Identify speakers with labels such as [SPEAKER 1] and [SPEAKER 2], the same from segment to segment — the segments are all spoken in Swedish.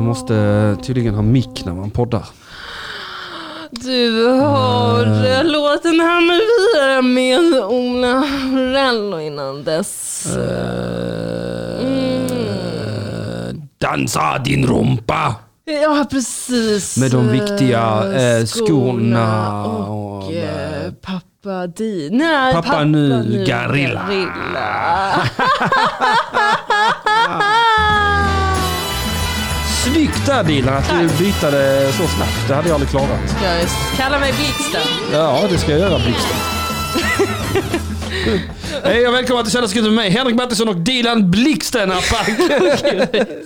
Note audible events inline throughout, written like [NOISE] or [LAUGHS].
[SPEAKER 1] måste tydligen ha mick när man poddar.
[SPEAKER 2] Du har
[SPEAKER 1] Mm.
[SPEAKER 2] eh, låten här med vidare med Ola Rello innan dess.
[SPEAKER 1] Mm. Dansa din rumpa!
[SPEAKER 2] Ja, precis.
[SPEAKER 1] Med de viktiga, eh, skorna
[SPEAKER 2] och,
[SPEAKER 1] och,
[SPEAKER 2] eh, pappa di. Nej,
[SPEAKER 1] Pappa Nu Guerrilla. [LAUGHS]
[SPEAKER 2] Guerrilla.
[SPEAKER 1] Snyggt där Dilan att du brytade så snabbt. Det hade jag aldrig klarat.
[SPEAKER 2] Jag s- kallar mig Blixten.
[SPEAKER 1] Ja, det ska jag göra Blixten. [LAUGHS] Hej och välkomna till Källarskrivet med mig, Henrik Mattisson och Dilan Blixten Apak.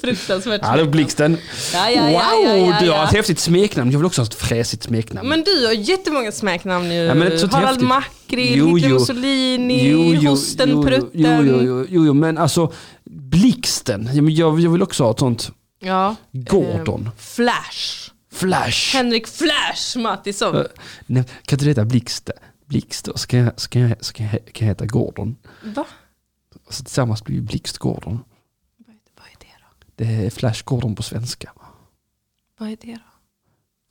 [SPEAKER 2] Fruktansvärt.
[SPEAKER 1] [LAUGHS] Hallå Blixten.
[SPEAKER 2] Ja, ja, ja,
[SPEAKER 1] Wow,
[SPEAKER 2] ja, ja,
[SPEAKER 1] du alltså- har
[SPEAKER 2] ja.
[SPEAKER 1] ett häftigt smeknamn. Jag vill också ha ett fräsigt smeknamn.
[SPEAKER 2] Men du har jättemånga smeknamn nu.
[SPEAKER 1] men det är så
[SPEAKER 2] Harald
[SPEAKER 1] häftigt.
[SPEAKER 2] Makrill,
[SPEAKER 1] Jo,
[SPEAKER 2] Hitler
[SPEAKER 1] jo.
[SPEAKER 2] Mussolini, Hosten
[SPEAKER 1] jo,
[SPEAKER 2] Prutten.
[SPEAKER 1] Jo, jo, jo, jo, jo, men alltså Blixten. Ja, men Jag, jag vill också ha ett sånt.
[SPEAKER 2] Ja.
[SPEAKER 1] Gordon.
[SPEAKER 2] Eh, Flash.
[SPEAKER 1] Flash.
[SPEAKER 2] Henrik Flash Mattisson.
[SPEAKER 1] Eh, Nej, kan inte du heta Blixten? Blixten, så kan jag, så kan jag, så kan jag, kan jag heta Gordon.
[SPEAKER 2] Va?
[SPEAKER 1] Så tillsammans blir vi Blixt Gordon.
[SPEAKER 2] Vad är det- vad är det då?
[SPEAKER 1] Det är Flash Gordon på svenska.
[SPEAKER 2] Vad är det då?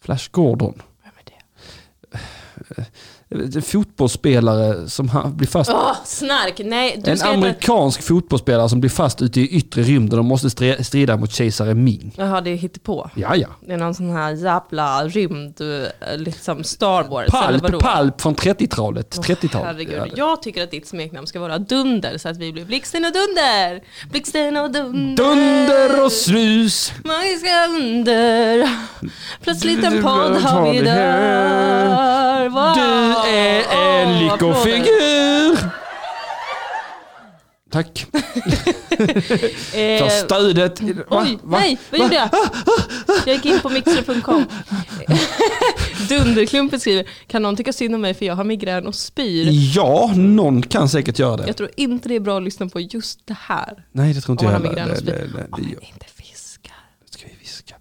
[SPEAKER 1] Flash Gordon.
[SPEAKER 2] Vem är det?
[SPEAKER 1] Eh, Fotbollsspelare som han blir fast
[SPEAKER 2] Åh, snark! Nej, du
[SPEAKER 1] en
[SPEAKER 2] ska heta...
[SPEAKER 1] amerikansk fotbollsspelare som blir fast ute i yttre rymden och måste stre- strida mot kejsare Ming.
[SPEAKER 2] Jaha, det är på.
[SPEAKER 1] Ja, ja.
[SPEAKER 2] Det är någon sån här jävla rymd, eh, liksom Star Wars eller vadå?
[SPEAKER 1] Palp, palp från 30-talet. 30-talet.
[SPEAKER 2] Herregud,
[SPEAKER 1] Ja, det-
[SPEAKER 2] jag tycker att ditt smeknamn ska vara Dunder så att vi blir Blixten och Dunder. Blixten och Dunder.
[SPEAKER 1] Dunder och snus.
[SPEAKER 2] Magiska under. Plötsligt en
[SPEAKER 1] Du-
[SPEAKER 2] podd har vi
[SPEAKER 1] har vi här.
[SPEAKER 2] där. Wow.
[SPEAKER 1] Du är en
[SPEAKER 2] Åh, applåder.
[SPEAKER 1] lyckofigur. Tack för
[SPEAKER 2] Eh,
[SPEAKER 1] stödet. Va?
[SPEAKER 2] Oj,
[SPEAKER 1] Va?
[SPEAKER 2] nej, vad gjorde jag? Jag gick in på mixer.com. [LAUGHS] Dunderklumpen skriver, kan någon tycka synd om mig för jag har migrän och spyr?
[SPEAKER 1] Ja, någon kan säkert göra det.
[SPEAKER 2] Jag tror inte det är bra att lyssna på just det här.
[SPEAKER 1] Nej, det tror inte
[SPEAKER 2] Om
[SPEAKER 1] jag
[SPEAKER 2] man har
[SPEAKER 1] heller.
[SPEAKER 2] migrän och
[SPEAKER 1] Det, det,
[SPEAKER 2] spyr.
[SPEAKER 1] det,
[SPEAKER 2] Om
[SPEAKER 1] det,
[SPEAKER 2] man inte fiskar.
[SPEAKER 1] ska vi viska.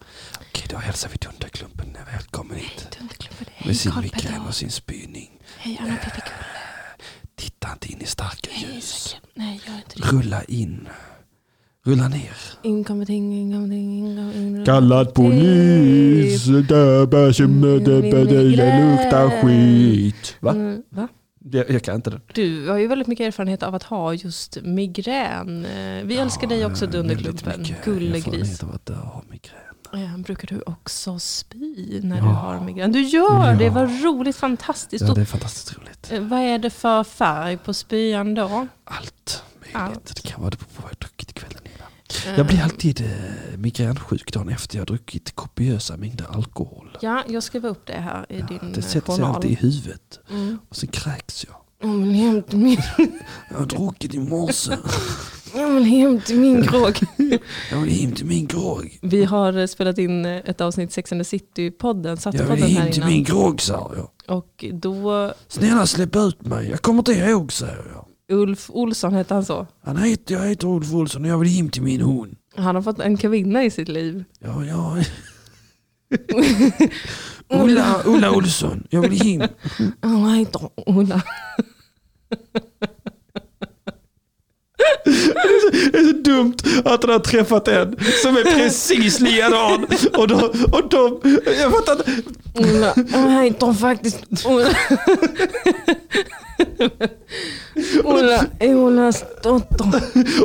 [SPEAKER 1] Okej, då hälsar vi Dunderklumpen välkommen hit.
[SPEAKER 2] Dunderklumpen, hej
[SPEAKER 1] Med sin migrän
[SPEAKER 2] Karl-Petter.
[SPEAKER 1] och sin spyning. Eh,
[SPEAKER 2] Hej Anna Pippikulle.
[SPEAKER 1] Titta inte in i starka ljus.
[SPEAKER 2] Nej, gör inte det.
[SPEAKER 1] Rulla in. Rulla ner.
[SPEAKER 2] Inkommer ting, inkommer ting, inkommer ting.
[SPEAKER 3] Kallad polis, drabbas med det luktar skit.
[SPEAKER 1] Va?
[SPEAKER 2] Mm, Va?
[SPEAKER 1] Jag, jag kan inte det.
[SPEAKER 2] Du har ju väldigt mycket erfarenhet av att ha just migrän. Eh, Vi älskar dig också Dunderklumpen, gullegris. Eh, Brukar du också spy när du
[SPEAKER 1] Ja.
[SPEAKER 2] har migrän? Du gör
[SPEAKER 1] Ja.
[SPEAKER 2] det, vad roligt, fantastiskt.
[SPEAKER 1] Ja,
[SPEAKER 2] Och,
[SPEAKER 1] det är fantastiskt roligt.
[SPEAKER 2] eh, Vad är det för färg på spyan då?
[SPEAKER 1] Allt möjligt.
[SPEAKER 2] Allt. Ehm.
[SPEAKER 1] Det kan vara det på vad jag druckit kvällen innan. Jag blir alltid eh, migränsjuk dagen efter jag druckit kopiösa mängder alkohol.
[SPEAKER 2] Ja, jag skriver upp det här i din
[SPEAKER 1] Det
[SPEAKER 2] eh,
[SPEAKER 1] sätter sig alltid i
[SPEAKER 2] journal.
[SPEAKER 1] huvudet
[SPEAKER 2] Mm.
[SPEAKER 1] och sen kräks jag.
[SPEAKER 2] Jag vill hem till min,
[SPEAKER 1] Jag har druckit i morse.
[SPEAKER 2] jag vill hem till
[SPEAKER 1] [LAUGHS]
[SPEAKER 2] min krog.
[SPEAKER 1] Jag vill hem till min grogg.
[SPEAKER 2] Vi har eh, spelat in eh, ett avsnitt Sex and the City-podden,
[SPEAKER 1] Jag
[SPEAKER 2] Sattepodden
[SPEAKER 1] vill hem
[SPEAKER 2] här
[SPEAKER 1] till
[SPEAKER 2] innan.
[SPEAKER 1] min grogg, sa jag.
[SPEAKER 2] Och då,
[SPEAKER 1] Snälla släpp ut mig. Jag kommer inte ihåg, sa jag.
[SPEAKER 2] Ulf Olsson hette han så.
[SPEAKER 1] Han heter, jag heter Ulf Olsson och jag vill hem till min hund.
[SPEAKER 2] Han har fått en kvinna i sitt liv. [LAUGHS]
[SPEAKER 1] Ja, ja. Ulla, Ulla Olsson, jag vill hem.
[SPEAKER 2] Han heter Ola.
[SPEAKER 1] Det är så dumt att han har träffat en som är precis likadan. Och de, och de, jag fattar inte.
[SPEAKER 2] Ola. Han heter faktiskt Ola. Ola är Olas dotter.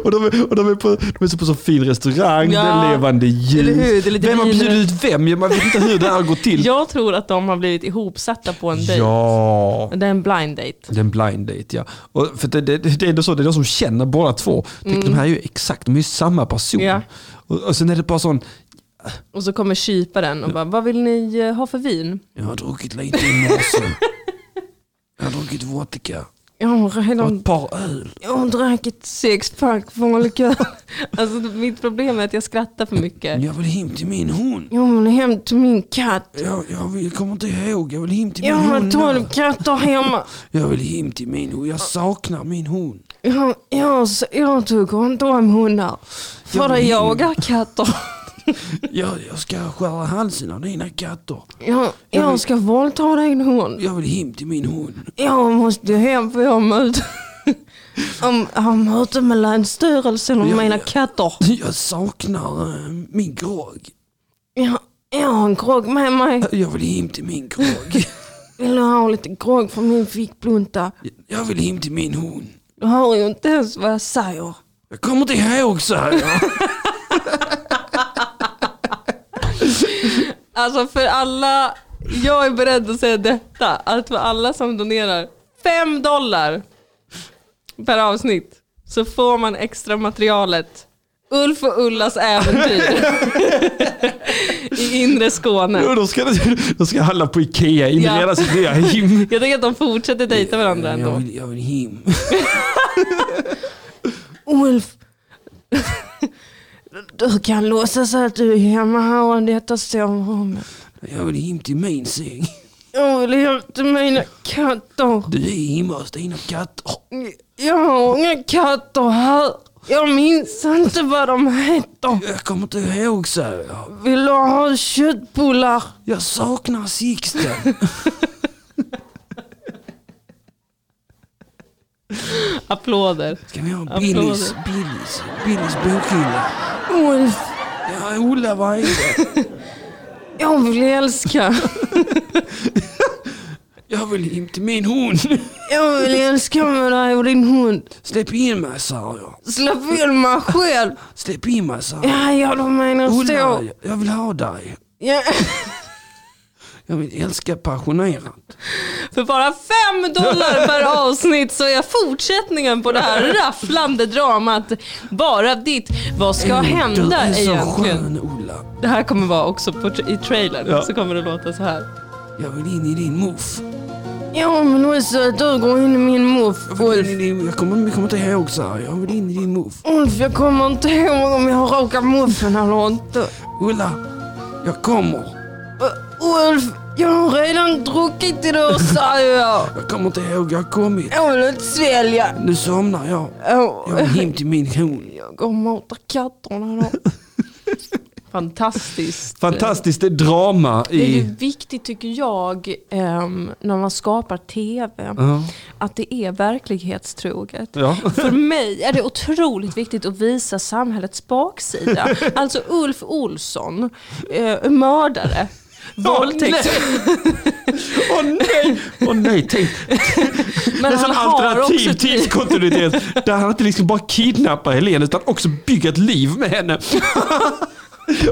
[SPEAKER 1] Och de, är- och de, är, på, de är så på så fin restaurang,
[SPEAKER 2] Ja.
[SPEAKER 1] det är levande
[SPEAKER 2] Eller hur?
[SPEAKER 1] ljus.
[SPEAKER 2] Det är lite
[SPEAKER 1] Vem har
[SPEAKER 2] vin.
[SPEAKER 1] bjudit ut vem? Jag- Man vet inte hur det här
[SPEAKER 2] [LAUGHS]
[SPEAKER 1] går till.
[SPEAKER 2] Jag tror att de har blivit ihopsatta på en dejt.
[SPEAKER 1] Ja.
[SPEAKER 2] Det är en blind date.
[SPEAKER 1] Den blind date ja. Och för det, det, det är ändå så, det är de som känner båda två. Tänk, De här är ju exakt, de är ju samma person.
[SPEAKER 2] Mm. Ja.
[SPEAKER 1] Och, och sen är det bara sån,
[SPEAKER 2] Och så kommer kyparen och bara, vad vill ni eh, ha för vin?
[SPEAKER 1] jag har druckit lite i morse. jag har druckit vodka.
[SPEAKER 2] Jag har
[SPEAKER 1] Och
[SPEAKER 2] redan
[SPEAKER 1] ett par öl.
[SPEAKER 2] jag drack ett sexpack folköl. [LAUGHS] Alltså mitt problem är att jag skrattar för mycket.
[SPEAKER 1] Jag vill hem till min hund.
[SPEAKER 2] Jag vill hem till min katt.
[SPEAKER 1] Jag, jag, vill, jag kommer inte ihåg, jag vill hem till min
[SPEAKER 2] Jag har
[SPEAKER 1] hund.
[SPEAKER 2] tolv katter hemma.
[SPEAKER 1] Jag vill hem till min hund, jag saknar min hund.
[SPEAKER 2] Jag, jag, jag tycker inte om hundar. För jag
[SPEAKER 1] Ja, men-
[SPEAKER 2] jagar katter. [LAUGHS]
[SPEAKER 1] Jag, jag ska skära halsen av dina katter.
[SPEAKER 2] Jag, jag ska våldta din hund.
[SPEAKER 1] Jag vill hem till min hund.
[SPEAKER 2] Jag måste hem för jag har möte. [LAUGHS] Om- Jag har möte med Länsstyrelsen om
[SPEAKER 1] Ja,
[SPEAKER 2] mina
[SPEAKER 1] ja.
[SPEAKER 2] katter.
[SPEAKER 1] Jag saknar eh, min grogg.
[SPEAKER 2] Jag, jag har en grogg med mig.
[SPEAKER 1] Jag vill hem till min grogg.
[SPEAKER 2] Vill du ha lite grogg från min fickplunta?
[SPEAKER 1] Jag vill hem till min hon.
[SPEAKER 2] Du hör ju inte ens vad jag säger.
[SPEAKER 1] Jag kommer inte ihåg så här.
[SPEAKER 2] Alltså för alla, jag är beredd att säga detta, att för alla som donerar 5 dollar per avsnitt så får man extra materialet Ulf och Ullas äventyr i inre Skåne.
[SPEAKER 1] [LAUGHS] Jo, då, ska, då ska alla på Ikea inreda
[SPEAKER 2] Ja.
[SPEAKER 1] sitt
[SPEAKER 2] [LAUGHS]
[SPEAKER 1] nya hem.
[SPEAKER 2] Jag tänker att de fortsätter dejta varandra
[SPEAKER 1] Jag
[SPEAKER 2] ändå.
[SPEAKER 1] vill, jag vill hem.
[SPEAKER 2] Ulf, du kan låtsas att du är hemma här i detta sovrummet.
[SPEAKER 1] Jag vill hem till min säng.
[SPEAKER 2] Jag vill hem till mina katter.
[SPEAKER 1] Du är hemma hos dina katter.
[SPEAKER 2] Jag har inga katter här. Jag minns inte vad de heter.
[SPEAKER 1] Jag kommer inte ihåg så här.
[SPEAKER 2] Vill du ha köttbullar?
[SPEAKER 1] Jag saknar Sixten.
[SPEAKER 2] Applåder.
[SPEAKER 1] Ska vi ha
[SPEAKER 2] Applåder.
[SPEAKER 1] Billys, Billys, Billys bokhylla?
[SPEAKER 2] Ulf,
[SPEAKER 1] Ja, Ola, vad är det?
[SPEAKER 2] jag vill älska.
[SPEAKER 1] Jag vill hem till min hund.
[SPEAKER 2] Jag vill älska med dig och din hund.
[SPEAKER 1] Släpp in mig, sa jag.
[SPEAKER 2] Släpp in mig själv.
[SPEAKER 1] Släpp in mig, sa jag.
[SPEAKER 2] Ja, ja, du menar
[SPEAKER 1] Ola,
[SPEAKER 2] så.
[SPEAKER 1] jag- jag vill ha dig.
[SPEAKER 2] Ja.
[SPEAKER 1] Jag vill älska passionerat.
[SPEAKER 2] För bara 5 dollar per avsnitt så är fortsättningen på det här rafflande dramat bara ditt. Vad ska
[SPEAKER 1] du
[SPEAKER 2] hända
[SPEAKER 1] är så
[SPEAKER 2] egentligen?
[SPEAKER 1] skön, Ola.
[SPEAKER 2] Det här kommer vara också på, i trailern,
[SPEAKER 1] Ja.
[SPEAKER 2] så kommer det låta så här.
[SPEAKER 1] Jag vill in i din muff.
[SPEAKER 2] Ja, men också att du går in i min muff,
[SPEAKER 1] Jag, vill
[SPEAKER 2] Ulf.
[SPEAKER 1] in i din, jag, kommer, jag kommer inte ihåg, sa jag. Jag vill in i din muff.
[SPEAKER 2] Ulf, jag kommer inte ihåg om jag har rakat muffen eller inte.
[SPEAKER 1] Ulla, jag kommer.
[SPEAKER 2] Uh, Ulf, jag har redan druckit idag, säger jag.
[SPEAKER 1] Jag kommer inte ihåg, jag har kommit.
[SPEAKER 2] Jag vill inte svälja.
[SPEAKER 1] Nu somnar jag. Jag
[SPEAKER 2] Åh,
[SPEAKER 1] vill hem till min hund.
[SPEAKER 2] jag går och matar katterna
[SPEAKER 1] [LAUGHS]
[SPEAKER 2] då. Fantastiskt.
[SPEAKER 1] Fantastiskt drama
[SPEAKER 2] Det är ju
[SPEAKER 1] i...
[SPEAKER 2] viktigt tycker jag ehm, när man skapar TV,
[SPEAKER 1] Ja.
[SPEAKER 2] att det är verklighetstroget.
[SPEAKER 1] Ja.
[SPEAKER 2] För mig är det otroligt viktigt att visa samhällets baksida. Alltså Ulf Olsson, eh, mördare, våldtäkt.
[SPEAKER 1] Åh nej! Åh nej,
[SPEAKER 2] [LAUGHS]
[SPEAKER 1] tänk.
[SPEAKER 2] Men han
[SPEAKER 1] Nästan
[SPEAKER 2] har
[SPEAKER 1] alternativ
[SPEAKER 2] också tid.
[SPEAKER 1] tidskontinuitet.
[SPEAKER 2] [LAUGHS]
[SPEAKER 1] Där han inte liksom bara kidnappar Helene utan också bygger ett liv
[SPEAKER 2] [LAUGHS]
[SPEAKER 1] med henne.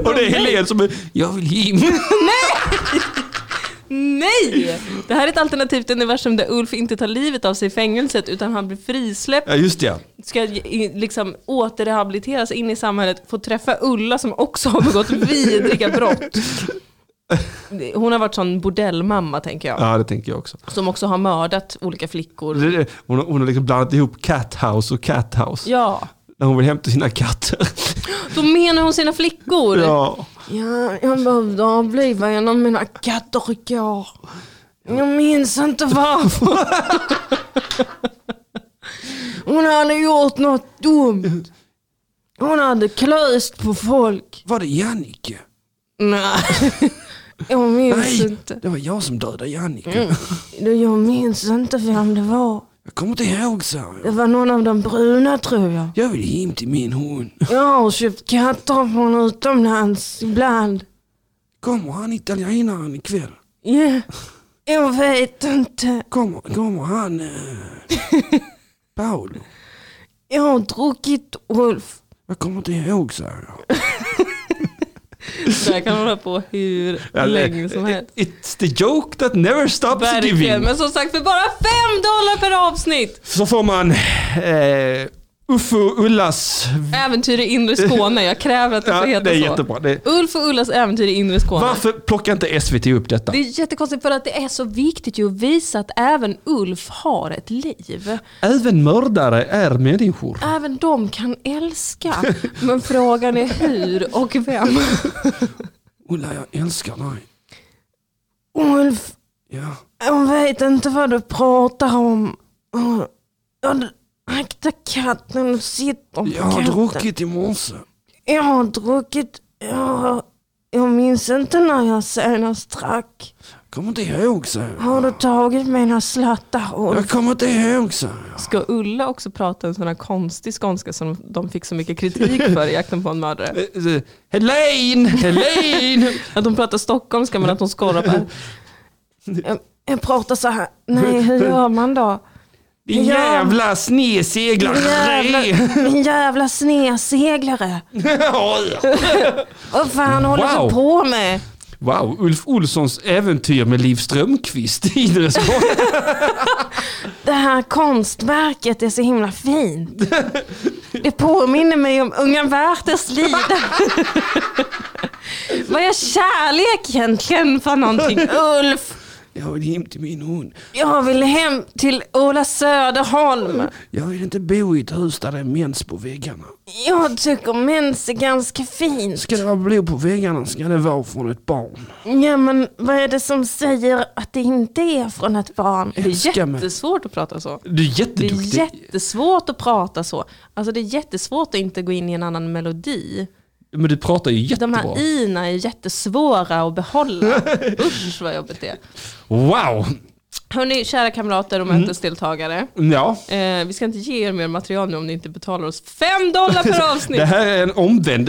[SPEAKER 1] Och det är Helene som är, jag vill hem.
[SPEAKER 2] [LAUGHS] Nej! Det här är ett alternativt universum där Ulf inte tar livet av sig i fängelset utan han blir frisläppt,
[SPEAKER 1] Ja just det.
[SPEAKER 2] ska i- liksom återrehabiliteras in i samhället, få träffa Ulla som också har
[SPEAKER 1] [LAUGHS]
[SPEAKER 2] begått vidriga brott. Hon har varit sån bordellmamma tänker jag.
[SPEAKER 1] Ja det tänker jag också.
[SPEAKER 2] Som också har mördat olika flickor.
[SPEAKER 1] Det är det. Hon har, hon har liksom blandat ihop cat house och cat house.
[SPEAKER 2] Ja,
[SPEAKER 1] När hon vill hämta sina katter.
[SPEAKER 2] då menar hon sina flickor.
[SPEAKER 1] Ja.
[SPEAKER 2] [LAUGHS] Ja, jag behövde avliva en av mina katter igår. Jag minns inte varför.
[SPEAKER 1] [LAUGHS]
[SPEAKER 2] Hon hade gjort något dumt. Hon hade klöst på folk.
[SPEAKER 1] Var det Jannike?
[SPEAKER 2] Nej, [LAUGHS] jag minns
[SPEAKER 1] Nej,
[SPEAKER 2] inte.
[SPEAKER 1] det var jag som dödade Jannike.
[SPEAKER 2] Mm. Du, Jag minns inte vem det var.
[SPEAKER 1] Jag kommer inte ihåg sa jag.
[SPEAKER 2] Det var någon av de bruna tror jag.
[SPEAKER 1] Jag vill hem till min hund.
[SPEAKER 2] Jag har köpt katter från utomlands ibland.
[SPEAKER 1] Kommer han italienaren ikväll?
[SPEAKER 2] Ja, jag vet inte.
[SPEAKER 1] Kommer, kommer han... Eh, [LAUGHS] Paolo?
[SPEAKER 2] Jag har druckit Ulf.
[SPEAKER 1] Jag kommer inte ihåg så här.
[SPEAKER 2] Så här kan man hålla på hur länge som helst.
[SPEAKER 1] It's the joke that never stops
[SPEAKER 2] Verkligen, men som sagt för bara 5 dollar per avsnitt!
[SPEAKER 1] Så får man eh, Uffe och Ullas...
[SPEAKER 2] Äventyr i inre Skåne, jag kräver att det
[SPEAKER 1] Ja,
[SPEAKER 2] får
[SPEAKER 1] det
[SPEAKER 2] heta
[SPEAKER 1] är
[SPEAKER 2] så.
[SPEAKER 1] jättebra. Det,
[SPEAKER 2] Ulf och Ullas äventyr i inre Skåne.
[SPEAKER 1] varför plockar inte SVT upp detta?
[SPEAKER 2] Det är jättekonstigt för att det är så viktigt ju att visa att även Ulf har ett liv.
[SPEAKER 1] Även mördare är människor.
[SPEAKER 2] Även de kan älska,
[SPEAKER 1] [LAUGHS]
[SPEAKER 2] men frågan är hur och vem.
[SPEAKER 1] Ulla, jag älskar dig.
[SPEAKER 2] Ulf,
[SPEAKER 1] Ja.
[SPEAKER 2] jag vet inte vad du pratar om. Akta katten, du sitter på
[SPEAKER 1] Jag har druckit i morse.
[SPEAKER 2] Jag har druckit, jag har Jag minns inte när jag senast drack.
[SPEAKER 4] Kommer inte ihåg så.
[SPEAKER 2] Har du tagit mina slattar
[SPEAKER 4] Jag kommer inte ihåg så.
[SPEAKER 2] Ska Ulla också prata en sån här konstig skånska som de fick så mycket kritik för i jakten på en mördare?
[SPEAKER 1] Eh,
[SPEAKER 4] Helene!
[SPEAKER 1] [LAUGHS]
[SPEAKER 4] Helene!
[SPEAKER 2] Att de pratar stockholmska men att de skorrar på jag, jag pratar så här. Nej, hur gör man då?
[SPEAKER 4] Din
[SPEAKER 2] Ja.
[SPEAKER 4] jävla sneseglare! [LAUGHS]
[SPEAKER 2] min jävla sneseglare. Vad fan håller
[SPEAKER 4] Wow.
[SPEAKER 2] du på med?
[SPEAKER 4] wow, Ulf Olssons äventyr med Liv Strömquist i Idresborg.
[SPEAKER 2] Det här konstverket är så himla fint. Det påminner mig om unga Werthers lida. Vad är kärlek egentligen för någonting? Ulf,
[SPEAKER 4] Jag vill hem till min hund.
[SPEAKER 2] jag vill hem till Ola Söderholm.
[SPEAKER 4] Jag vill inte bo i ett hus där det är mens på väggarna.
[SPEAKER 2] Jag tycker mens är ganska fint.
[SPEAKER 4] Ska det vara blod på väggarna ska det vara från ett barn.
[SPEAKER 2] Ja, men vad är det som säger att det inte är från ett barn? Det
[SPEAKER 4] Älska
[SPEAKER 2] är
[SPEAKER 4] mig.
[SPEAKER 2] jättesvårt att prata så.
[SPEAKER 4] Du är
[SPEAKER 2] Det
[SPEAKER 4] jätteduktig.
[SPEAKER 2] är jättesvårt att prata så. Alltså det är jättesvårt att inte gå in i en annan melodi.
[SPEAKER 4] Men du pratar ju
[SPEAKER 2] De
[SPEAKER 4] jättebra.
[SPEAKER 2] här ina är jättesvåra att
[SPEAKER 4] [LAUGHS]
[SPEAKER 2] behålla. Usch vad jobbigt det är.
[SPEAKER 4] Wow!
[SPEAKER 2] Hörni, kära kamrater
[SPEAKER 4] Mm.
[SPEAKER 2] och mötesdeltagare.
[SPEAKER 4] Ja,
[SPEAKER 2] Eh, vi ska inte ge er mer material nu om ni inte betalar oss 5 dollar
[SPEAKER 4] [LAUGHS]
[SPEAKER 2] per avsnitt.
[SPEAKER 4] det här är en omvänd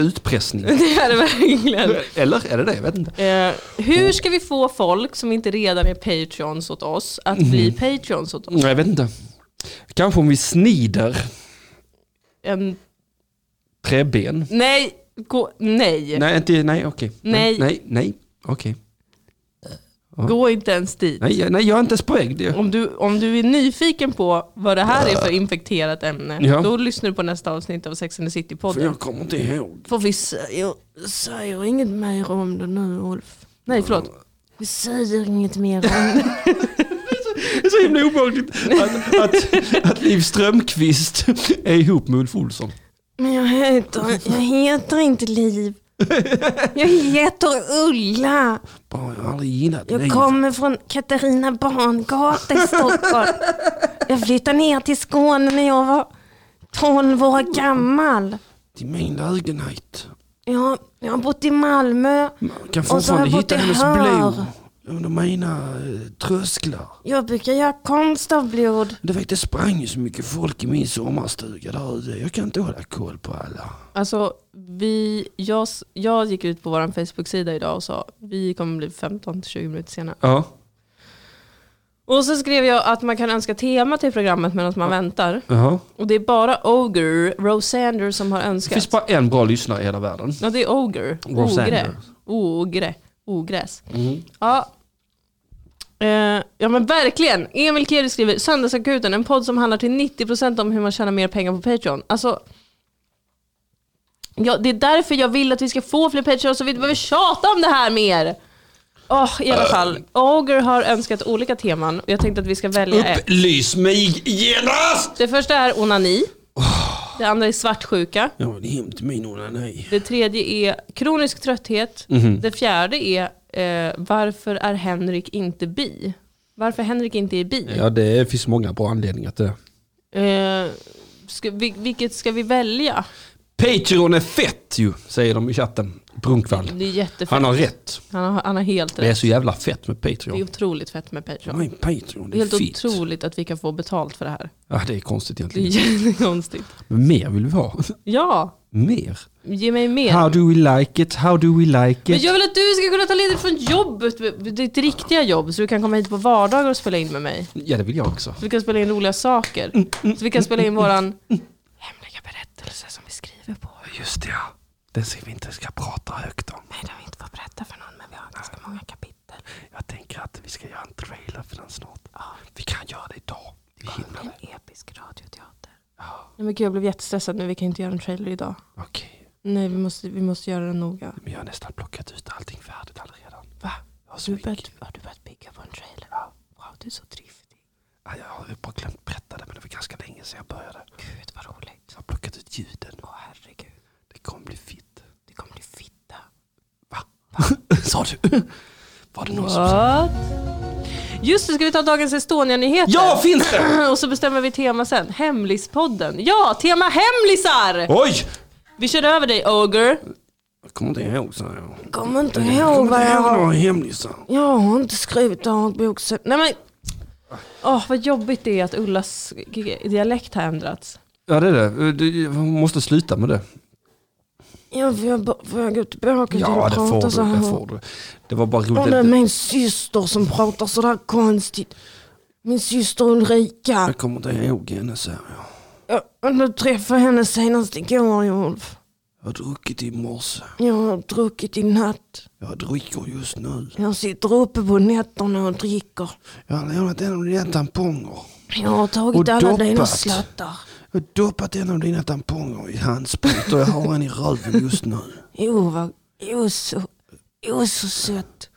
[SPEAKER 2] [LAUGHS]
[SPEAKER 4] utpressning.
[SPEAKER 2] det är det verkligen.
[SPEAKER 4] Eller är det det? Jag vet inte.
[SPEAKER 2] Eh, hur ska vi få folk som inte redan är patreons åt oss att bli
[SPEAKER 4] Mhm.
[SPEAKER 2] patreons åt oss?
[SPEAKER 4] Nej, Jag vet inte. Kanske om vi snider
[SPEAKER 2] En,
[SPEAKER 4] träben.
[SPEAKER 2] nej, gå, nej,
[SPEAKER 4] Nej, inte, nej okej.
[SPEAKER 2] Nej.
[SPEAKER 4] Nej, nej, okej.
[SPEAKER 2] gå inte ens dit.
[SPEAKER 4] Nej, jag- nej, jag är inte ens på väg. Det-
[SPEAKER 2] Om du, om du är nyfiken på vad det här är för infekterat ämne,
[SPEAKER 4] Ja.
[SPEAKER 2] då lyssnar du på nästa avsnitt av Sex and the
[SPEAKER 4] För
[SPEAKER 2] City-podden.
[SPEAKER 4] jag kommer inte ihåg.
[SPEAKER 2] För vi säger, säger inget mer om det nu, Ulf. Nej, förlåt. Vi säger inget mer om det.
[SPEAKER 4] Det är så himla obehagligt att, att, att Liv Strömquist är ihop med Ulf Olsson.
[SPEAKER 2] Men jag heter, jag heter inte Liv. Jag heter Ulla.
[SPEAKER 4] Bara jag har aldrig gillat
[SPEAKER 5] Jag
[SPEAKER 4] Liv.
[SPEAKER 5] kommer från Katarina Barngata i Stockholm. Jag flyttade ner till Skåne när jag var 12 år gammal.
[SPEAKER 4] Till min lägenhet.
[SPEAKER 5] Jag, jag har bott i Malmö.
[SPEAKER 4] Man kan
[SPEAKER 5] Och så har
[SPEAKER 4] fortfarande
[SPEAKER 5] jag bott
[SPEAKER 4] hitta
[SPEAKER 5] i
[SPEAKER 4] hennes
[SPEAKER 5] hör.
[SPEAKER 4] blod under mina eh, trösklar.
[SPEAKER 5] Jag brukar göra konst av blod.
[SPEAKER 4] Du vet, det sprang ju så mycket folk i min sommarstuga där ute. Jag kan inte hålla koll på alla.
[SPEAKER 2] Alltså, vi, jag, s- jag gick ut på vår Facebook-sida idag och sa vi kommer bli 15-20 minuter sena.
[SPEAKER 4] Ja.
[SPEAKER 2] Och så skrev jag att man kan önska tema till programmet medan man väntar.
[SPEAKER 4] Jaha.
[SPEAKER 2] Och det är bara Ogre, Rosander, som har
[SPEAKER 4] Det finns
[SPEAKER 2] önskat.
[SPEAKER 4] bara en bra lyssnare i hela världen.
[SPEAKER 2] Ja, det är Ogre. Ogre. Mm.
[SPEAKER 4] Rosander.
[SPEAKER 2] Ogre. Ogräs. Ja. Eh, ja men verkligen. Emil Keri skriver Söndagsakuten, en podd som handlar till 90% om hur man tjänar mer pengar på Patreon. Alltså, ja, det är därför jag vill att vi ska få fler Patreon så vi inte behöver tjata om det här mer. Åh, I alla fall, Ogre har önskat olika teman och jag tänkte att vi ska välja ett.
[SPEAKER 4] Upplys mig genast!
[SPEAKER 2] Det första är onani. Det andra är svartsjuka.
[SPEAKER 4] Jag vill hem till min onani.
[SPEAKER 2] Det tredje är kronisk trötthet. Det fjärde är eh, varför är Henrik inte bi? Varför Henrik inte är bi?
[SPEAKER 4] Ja, det finns många bra anledningar till det.
[SPEAKER 2] Eh, ska, vi, vilket ska vi välja?
[SPEAKER 4] Patreon är fett ju, säger de i chatten. Brunkvall.
[SPEAKER 2] Det är jättefett.
[SPEAKER 4] Han har rätt.
[SPEAKER 2] han har, han har helt
[SPEAKER 4] Det är
[SPEAKER 2] rätt.
[SPEAKER 4] så jävla fett med
[SPEAKER 2] Det är
[SPEAKER 4] Patreon.
[SPEAKER 2] otroligt fett med Patreon.
[SPEAKER 4] Nej, Patreon,
[SPEAKER 2] Det
[SPEAKER 4] det
[SPEAKER 2] är
[SPEAKER 4] är
[SPEAKER 2] helt
[SPEAKER 4] fett.
[SPEAKER 2] otroligt att vi kan få betalt för det här.
[SPEAKER 4] Ja, det är konstigt
[SPEAKER 2] Det är
[SPEAKER 4] egentligen.
[SPEAKER 2] jättekonstigt.
[SPEAKER 4] Men mer vill vi ha. [LAUGHS]
[SPEAKER 2] Ja,
[SPEAKER 4] Mer.
[SPEAKER 2] ge mig mer.
[SPEAKER 4] How do we like it? How do we like
[SPEAKER 2] Men
[SPEAKER 4] it?
[SPEAKER 2] jag vill att du ska kunna ta ledigt från jobbet, ditt riktiga jobb, så du kan komma hit på vardagar och spela in med mig.
[SPEAKER 4] Ja, det vill jag också.
[SPEAKER 2] Så vi kan spela in roliga saker. Så vi kan spela in våran hemliga berättelse som vi skriver på.
[SPEAKER 4] Just det, ja. Den som vi inte ska prata högt om.
[SPEAKER 2] Nej, det har vi inte fått berätta för någon, men vi har ganska många kapitel.
[SPEAKER 4] Jag tänker att vi ska göra en trailer för den snart. Vi kan göra det idag. Vi hinner det.
[SPEAKER 2] Episk radioteater. Nej men gud, jag blev jättestressad nu. Vi kan inte göra en trailer idag.
[SPEAKER 4] Okej,
[SPEAKER 2] Nej, vi måste, vi måste göra den noga.
[SPEAKER 4] men jag har nästan plockat ut allting färdigt redan.
[SPEAKER 2] Va?
[SPEAKER 4] Jag har, så
[SPEAKER 2] Du
[SPEAKER 4] mycket.
[SPEAKER 2] börjat, har du börjat bygga på en trailer? Ja. Wow, du är så driftig.
[SPEAKER 4] Ja, jag har bara glömt berätta det, men det var ganska länge sedan jag började.
[SPEAKER 2] Gud, vad roligt.
[SPEAKER 4] Jag har plockat ut ljuden.
[SPEAKER 2] Åh herregud,
[SPEAKER 4] Det kommer bli fitt.
[SPEAKER 2] det kommer bli fitta.
[SPEAKER 4] [LAUGHS] Sa du? Var det någon som sa?
[SPEAKER 2] What? Just det, ska vi ta dagens Estonia-nyheter?
[SPEAKER 4] Ja, finns det!
[SPEAKER 2] [CLEARS THROAT] Och så bestämmer vi tema sen. Hemlispodden. Ja, tema hemlisar!
[SPEAKER 4] Oj!
[SPEAKER 2] Vi kör över dig, Ogre.
[SPEAKER 4] Jag kommer inte ihåg, sa jag.
[SPEAKER 5] Kommer inte
[SPEAKER 4] Jag
[SPEAKER 5] ihåg
[SPEAKER 4] kommer
[SPEAKER 5] vad
[SPEAKER 4] inte
[SPEAKER 5] jag
[SPEAKER 4] ihåg
[SPEAKER 5] har.
[SPEAKER 4] några hemlisar.
[SPEAKER 5] Jag har inte skrivit dagboksäck. Nej men,
[SPEAKER 2] Åh, vad jobbigt det är att Ullas g- dialekt har ändrats.
[SPEAKER 4] Ja, det är det. Du hon måste sluta med det.
[SPEAKER 5] jag får, jag bara- får jag gå tillbaka till
[SPEAKER 4] Ja,
[SPEAKER 5] att
[SPEAKER 4] det får
[SPEAKER 5] prata så
[SPEAKER 4] du. Det,
[SPEAKER 5] här?
[SPEAKER 4] får du. det var bara
[SPEAKER 5] Och det är
[SPEAKER 4] roligt.
[SPEAKER 5] min syster som pratar så där konstigt. Min syster Ulrika.
[SPEAKER 4] Jag kommer inte ihåg henne, sa jag.
[SPEAKER 5] Jag, jag träffade henne senast igår, Ulf.
[SPEAKER 4] Jag har druckit i morse.
[SPEAKER 5] Jag har druckit i natt.
[SPEAKER 4] Jag dricker just nu.
[SPEAKER 5] Jag sitter uppe på nätterna och dricker.
[SPEAKER 4] Jag har lånat en av dina tamponger.
[SPEAKER 5] Jag har tagit
[SPEAKER 4] Och
[SPEAKER 5] alla
[SPEAKER 4] doppat.
[SPEAKER 5] dina slattar.
[SPEAKER 4] Jag har doppat en av dina tamponger i handsprit och jag har en i röven just nu.
[SPEAKER 5] Jo, vad... Jo, så... Jo, så sött.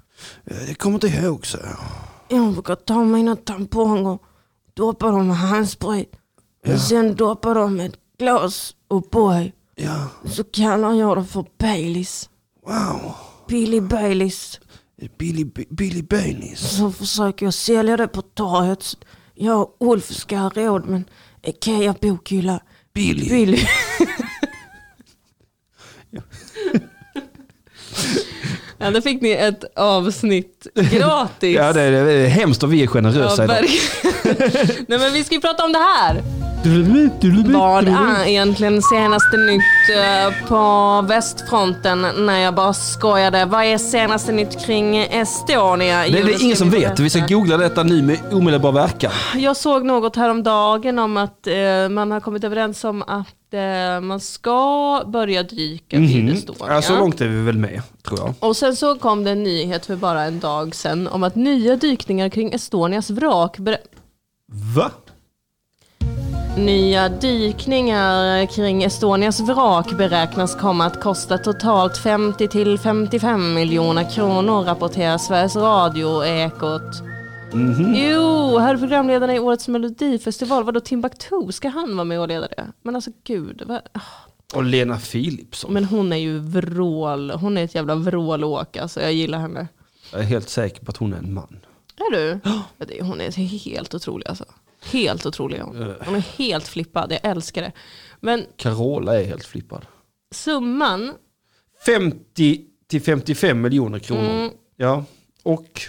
[SPEAKER 4] Eh, Det kommer inte ihåg, sa jag.
[SPEAKER 5] Jag brukar ta mina tamponger, doppa dem med handsprit
[SPEAKER 4] Ja.
[SPEAKER 5] och sen doppa dem med ett glas och boy.
[SPEAKER 4] Ja,
[SPEAKER 5] Så kallar jag det för Baileys.
[SPEAKER 4] wow.
[SPEAKER 5] Billy Baileys.
[SPEAKER 4] Billy, Billy Baileys.
[SPEAKER 5] Så försöker jag sälja det på torget. Jag och Ulf ska ha råd men Ikea bokhylla.
[SPEAKER 4] Billy.
[SPEAKER 5] Billy.
[SPEAKER 2] Ja, då fick ni ett avsnitt gratis.
[SPEAKER 4] Ja, det är, det är hemskt och vi är
[SPEAKER 2] Ja,
[SPEAKER 4] generösa idag.
[SPEAKER 2] verkligen. [LAUGHS] Nej men vi ska ju prata om det här. Vad
[SPEAKER 4] Vad
[SPEAKER 2] är egentligen senaste nytt eh, på västfronten? När jag bara skojade. Vad är senaste nytt kring Estonia?
[SPEAKER 4] Det är det ingen som vet. Vi ska googla detta nu med omedelbar verkan.
[SPEAKER 2] Jag såg något häromdagen om att eh, man har kommit överens om att eh, man ska börja dyka vid Estonia.
[SPEAKER 4] Mhm. Ja, så långt är vi väl med, tror jag.
[SPEAKER 2] Och sen så kom det en nyhet för bara en dag sedan om att nya dykningar kring Estonias vrak ber-
[SPEAKER 4] Va?
[SPEAKER 2] Nya dykningar kring Estonias vrak beräknas komma att kosta totalt 50 till 55 miljoner kronor, rapporterar Sveriges Radio Ekot. Jo, här är programledarna i årets melodifestival. Vadå Timbuktu, ska han vara med och leda det? Men alltså gud, vad...
[SPEAKER 4] Och Lena Philipsson.
[SPEAKER 2] men hon är ju vrål. Hon är ett jävla vrålåk alltså, jag gillar henne.
[SPEAKER 4] Jag är helt säker på att hon är en man.
[SPEAKER 2] Är du? Ja, det- Hon är helt otrolig alltså. Helt otrolig är hon. Hon är helt flippad, jag älskar det. Men
[SPEAKER 4] Carola är helt flippad.
[SPEAKER 2] summan
[SPEAKER 4] 50 till 55 miljoner kronor. Ja, och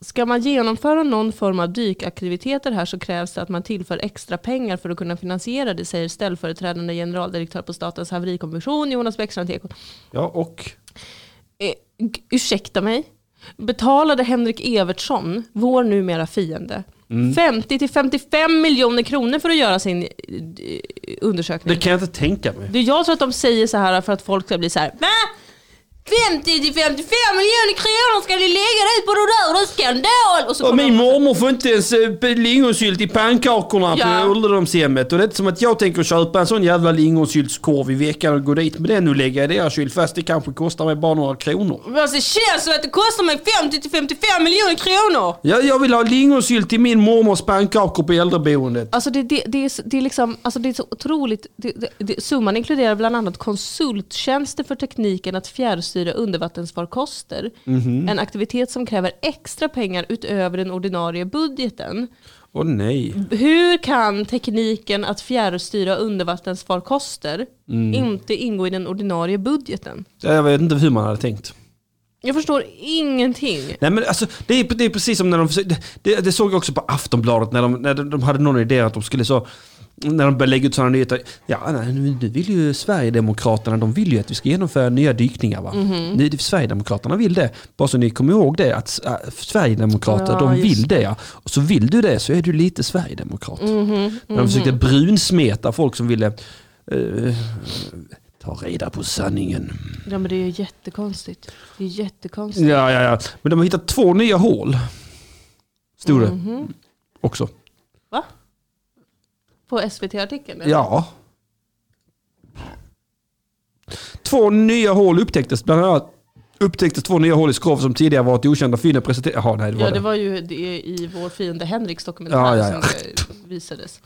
[SPEAKER 2] Ska man genomföra någon form av dykaktiviteter här så krävs det att man tillför extra pengar för att kunna finansiera det, säger ställföreträdande generaldirektör på Statens haverikommission Jonas Bäckstrand till Ekot.
[SPEAKER 4] ja, och
[SPEAKER 2] Eh, g- ursäkta mig. Betalade Henrik Evertsson, vår numera fiende, 50-55 miljoner kronor för att göra sin eh, d-
[SPEAKER 4] det
[SPEAKER 2] undersökning?
[SPEAKER 4] kan jag inte tänka mig.
[SPEAKER 2] Det... Jag tror att de säger så här för att folk ska bli så här, va? 50-55 miljoner kronor ska ni lägga ut på det där, det är skandal! Och så
[SPEAKER 4] Och
[SPEAKER 2] kommer
[SPEAKER 4] min
[SPEAKER 2] de-
[SPEAKER 4] mormor får inte ens eh, lingonsylt i pannkakorna
[SPEAKER 2] Ja.
[SPEAKER 4] på ålderdomshemmet. Och det är inte som att jag tänker köpa en sån jävla lingonsyltskorv i veckan och gå dit med den och lägga i deras kyl. Fast det kanske kostar mig bara några kronor.
[SPEAKER 2] Men Alltså, det känns som att det kostar mig 50-55 miljoner kronor.
[SPEAKER 4] Jag, jag vill ha lingonsylt i min mormors pannkakor på äldreboendet.
[SPEAKER 2] Alltså det, det, det, är, så- det, är liksom, alltså det är så otroligt. Det, det, det, summan inkluderar bland annat konsulttjänster för tekniken att fjärrstyra undervattensfarkoster. En aktivitet som kräver extra pengar utöver den ordinarie budgeten.
[SPEAKER 4] Åh nej.
[SPEAKER 2] Hur kan tekniken att fjärrstyra undervattensfarkoster inte ingå i den ordinarie budgeten?
[SPEAKER 4] Jag vet inte hur man hade tänkt.
[SPEAKER 2] Jag förstår ingenting.
[SPEAKER 4] Nej men alltså, det är, det är precis som när de försökte, det, det såg jag också på Aftonbladet när de, när de, de hade någon idé att de skulle så, när de började lägga ut sådana nyheter. Ja, nej, nu nu vill ju Sverigedemokraterna, de vill ju att vi ska genomföra nya dykningar va? Nu, det- Sverigedemokraterna vill det. Bara så ni kommer ihåg det, att äh, Sverigedemokrater,
[SPEAKER 2] Ja,
[SPEAKER 4] de
[SPEAKER 2] just
[SPEAKER 4] vill det Mhm, ja. Och så vill du det så är du lite Sverigedemokrat. När de försökte brunsmeta folk som ville eh, ta reda på sanningen.
[SPEAKER 2] Ja, men det är ju jättekonstigt. Det är jättekonstigt.
[SPEAKER 4] Ja, ja, ja. Men de har hittat två nya hål. Stod det
[SPEAKER 2] Mhm.
[SPEAKER 4] också.
[SPEAKER 2] Va? På SVT-artikeln? eller?
[SPEAKER 4] Ja. Två nya hål upptäcktes. Bland annat upptäcktes två nya hål i skrov som tidigare varit okända. Fynden presenterade... Jaha, nej det var
[SPEAKER 2] Ja,
[SPEAKER 4] det.
[SPEAKER 2] det var ju det i vår fiende Henriks dokumentär
[SPEAKER 4] Ja, ja, ja.
[SPEAKER 2] som det visades.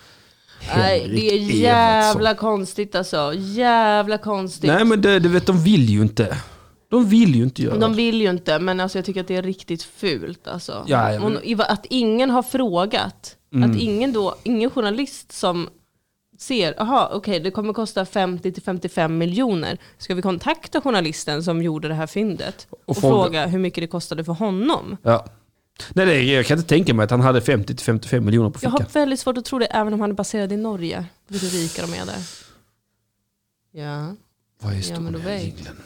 [SPEAKER 2] Nej, det är
[SPEAKER 4] Henrik
[SPEAKER 2] jävla konstigt alltså. Jävla konstigt.
[SPEAKER 4] Nej men det, det vet, de vill ju inte. De vill ju inte göra
[SPEAKER 2] De
[SPEAKER 4] det.
[SPEAKER 2] vill ju inte, men alltså jag tycker att det är riktigt fult. Alltså.
[SPEAKER 4] Ja, ja, men- Mm.
[SPEAKER 2] Och Att ingen har frågat. Att ingen, då, ingen journalist som ser, aha, okej det kommer kosta 50 till 55 miljoner. Ska vi kontakta journalisten som gjorde det här fyndet och,
[SPEAKER 4] fråga-
[SPEAKER 2] fråga. hur mycket det kostade för honom?
[SPEAKER 4] Ja. Nej, det, jag kan inte tänka mig att han hade 50-55 miljoner på
[SPEAKER 2] Jag har
[SPEAKER 4] fickan.
[SPEAKER 2] väldigt svårt att tro det även om han är baserad i Norge. Vet du hur rika de är där? Ja.
[SPEAKER 4] Vad är
[SPEAKER 2] Ja, men då
[SPEAKER 4] Estonia?
[SPEAKER 2] vet.
[SPEAKER 4] England?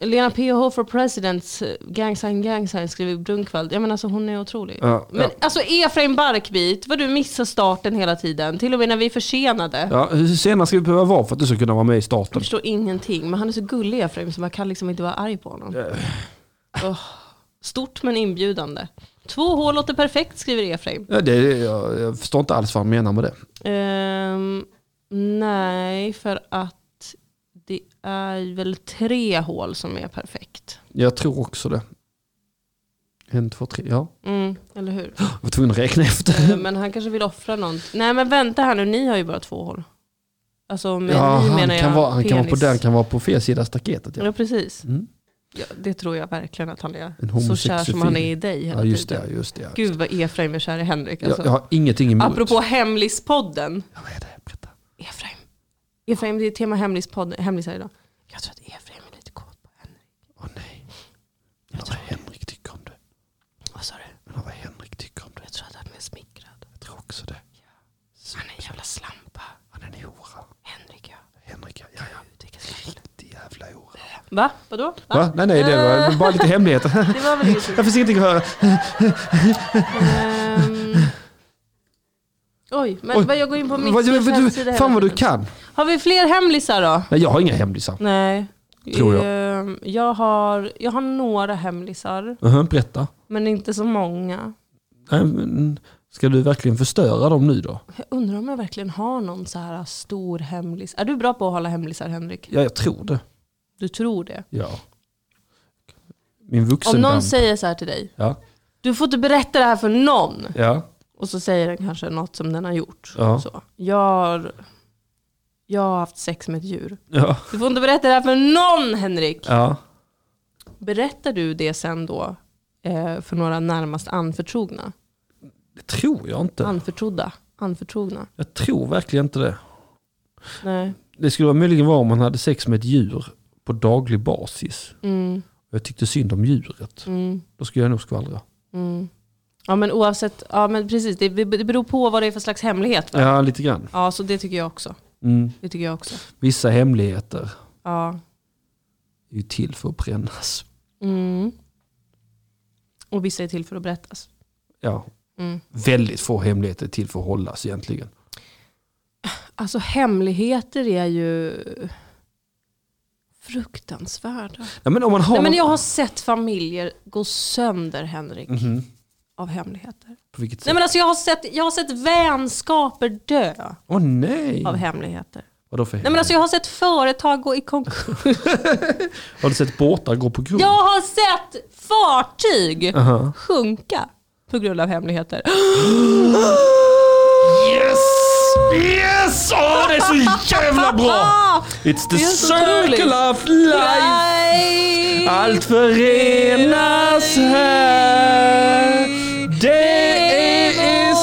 [SPEAKER 2] Lena PH for President, eh, gang sign, gang sign, skriver Brunkvald. Ja men alltså hon är otrolig.
[SPEAKER 4] Ja,
[SPEAKER 2] men
[SPEAKER 4] ja.
[SPEAKER 2] alltså Efraim Barkbit, vad du missar starten hela tiden. Till och med när vi är försenade.
[SPEAKER 4] Ja, hur sena ska vi behöva vara för att du ska kunna vara med i
[SPEAKER 2] Jag
[SPEAKER 4] starten?
[SPEAKER 2] förstår ingenting, men han är så gullig Efraim så man kan liksom inte vara arg på honom. Åh, Stort men inbjudande. Två hål låter perfekt skriver Efraim.
[SPEAKER 4] Ja, det, jag, jag förstår inte alls vad han menar med det.
[SPEAKER 2] Ehm, nej, för att det är väl tre hål som är perfekt.
[SPEAKER 4] Jag tror också det. En, två, tre, ja.
[SPEAKER 2] Mm, eller
[SPEAKER 4] [LAUGHS]
[SPEAKER 2] hur?
[SPEAKER 4] Jag var tvungen att räkna efter.
[SPEAKER 2] Eh, Men han kanske vill offra något. Nej men vänta här nu, ni har ju bara två hål. Alltså med
[SPEAKER 4] Ja,
[SPEAKER 2] ni
[SPEAKER 4] han
[SPEAKER 2] menar
[SPEAKER 4] kan,
[SPEAKER 2] jag
[SPEAKER 4] vara, han kan vara på
[SPEAKER 2] penis.
[SPEAKER 4] den, kan vara på fel sida staketet. Ja.
[SPEAKER 2] Ja precis.
[SPEAKER 4] Mm.
[SPEAKER 2] Ja, det tror jag verkligen att han är.
[SPEAKER 4] En
[SPEAKER 2] Så
[SPEAKER 4] homosexofil.
[SPEAKER 2] kär som han är i dig hela
[SPEAKER 4] ja, just
[SPEAKER 2] tiden.
[SPEAKER 4] det. Just det ja.
[SPEAKER 2] Gud vad Efraim är kär i Henrik. Alltså.
[SPEAKER 4] jag, jag har ingenting emot.
[SPEAKER 2] Apropå hemlispodden.
[SPEAKER 4] Ja, vad är det? Berätta.
[SPEAKER 2] Efraim. Efraim, det är tema hemlispodd, hemlisar idag. Jag tror att Efraim är lite kåt på Henrik.
[SPEAKER 4] Åh nej. Jag vad Henrik tycker om det.
[SPEAKER 2] Vad sa du?
[SPEAKER 4] Jag vad Henrik tycker om det.
[SPEAKER 2] Jag tror att han är smickrad.
[SPEAKER 4] Jag tror också det.
[SPEAKER 2] Han är en jävla slampa.
[SPEAKER 4] Han är en hora.
[SPEAKER 2] Henrik ja.
[SPEAKER 4] Henrik, ja. ja, ja.
[SPEAKER 2] Gud, vilken slampa.
[SPEAKER 4] Riktig jävla hora.
[SPEAKER 2] Va? Vadå? Va?
[SPEAKER 4] Va? Nej, nej,
[SPEAKER 2] [LAUGHS]
[SPEAKER 4] det var bara lite hemligheter.
[SPEAKER 2] Det var väl ingenting.
[SPEAKER 4] Jag finns ingenting att höra.
[SPEAKER 2] Ehm. Oj, men
[SPEAKER 4] Oj.
[SPEAKER 2] vad jag går in på mitt
[SPEAKER 4] Vad- vad- vad-
[SPEAKER 2] hemsida
[SPEAKER 4] Fan
[SPEAKER 2] hela
[SPEAKER 4] vad du
[SPEAKER 2] tiden.
[SPEAKER 4] kan.
[SPEAKER 2] Har vi fler hemlisar då?
[SPEAKER 4] Nej, jag har inga hemlisar.
[SPEAKER 2] Nej.
[SPEAKER 4] Tror jag.
[SPEAKER 2] Ehm, jag, har, jag har några hemlisar,
[SPEAKER 4] uh berätta.
[SPEAKER 2] men inte så många.
[SPEAKER 4] Nej, men ska du verkligen förstöra dem nu då?
[SPEAKER 2] Jag undrar om jag verkligen har någon så här stor hemlis. Är du bra på att hålla hemlisar Henrik?
[SPEAKER 4] Ja, jag tror det.
[SPEAKER 2] Du tror det?
[SPEAKER 4] Ja. Min vuxen
[SPEAKER 2] Om någon
[SPEAKER 4] vän.
[SPEAKER 2] säger så här till dig,
[SPEAKER 4] Ja,
[SPEAKER 2] du får inte berätta det här för någon.
[SPEAKER 4] ja.
[SPEAKER 2] Och så säger den kanske något som den har gjort.
[SPEAKER 4] Ja.
[SPEAKER 2] Så. Jag, har, jag har haft sex med ett djur.
[SPEAKER 4] Ja,
[SPEAKER 2] Du får inte berätta det här för någon Henrik.
[SPEAKER 4] ja.
[SPEAKER 2] Berättar du det sen då eh, för några närmast anförtrogna?
[SPEAKER 4] Det tror jag inte.
[SPEAKER 2] Anförtrodda? Anförtrogna?
[SPEAKER 4] Jag tror verkligen inte det.
[SPEAKER 2] Nej.
[SPEAKER 4] Det skulle vara möjligen vara om man hade sex med ett djur på daglig basis.
[SPEAKER 2] Mm,
[SPEAKER 4] Jag tyckte synd om djuret.
[SPEAKER 2] mm,
[SPEAKER 4] Då skulle jag nog skvallra.
[SPEAKER 2] mm. Ja men oavsett, ja men precis, det, det beror på vad det är för slags hemlighet. Va?
[SPEAKER 4] Ja, lite grann.
[SPEAKER 2] Ja, så det tycker jag också.
[SPEAKER 4] Mm.
[SPEAKER 2] Det tycker jag också.
[SPEAKER 4] Vissa hemligheter
[SPEAKER 2] Ja.
[SPEAKER 4] är ju till för att brännas.
[SPEAKER 2] Mm. Och vissa är till för att berättas.
[SPEAKER 4] Ja,
[SPEAKER 2] Mm.
[SPEAKER 4] väldigt få hemligheter är till för att hållas egentligen.
[SPEAKER 2] Alltså hemligheter är ju fruktansvärda.
[SPEAKER 4] Ja, men om man har
[SPEAKER 2] Nej, men jag har sett familjer gå sönder Henrik
[SPEAKER 4] Mhm.
[SPEAKER 2] av hemligheter.
[SPEAKER 4] På vilket sätt?
[SPEAKER 2] Nej, men alltså, jag, har sett, jag har sett vänskaper dö
[SPEAKER 4] Åh nej!
[SPEAKER 2] av hemligheter.
[SPEAKER 4] Vadå för
[SPEAKER 2] Nej, men alltså, jag har sett företag gå i konkurs.
[SPEAKER 4] Har du sett båtar gå på grund?
[SPEAKER 2] Jag har sett fartyg
[SPEAKER 4] Aha.
[SPEAKER 2] sjunka på grund av hemligheter.
[SPEAKER 4] Yes! Yes! Åh, det är så jävla bra!
[SPEAKER 2] Ah!
[SPEAKER 4] It's the
[SPEAKER 2] Det är så circle otroligt.
[SPEAKER 4] of life!
[SPEAKER 2] Nej!
[SPEAKER 4] Allt förenas här. Det är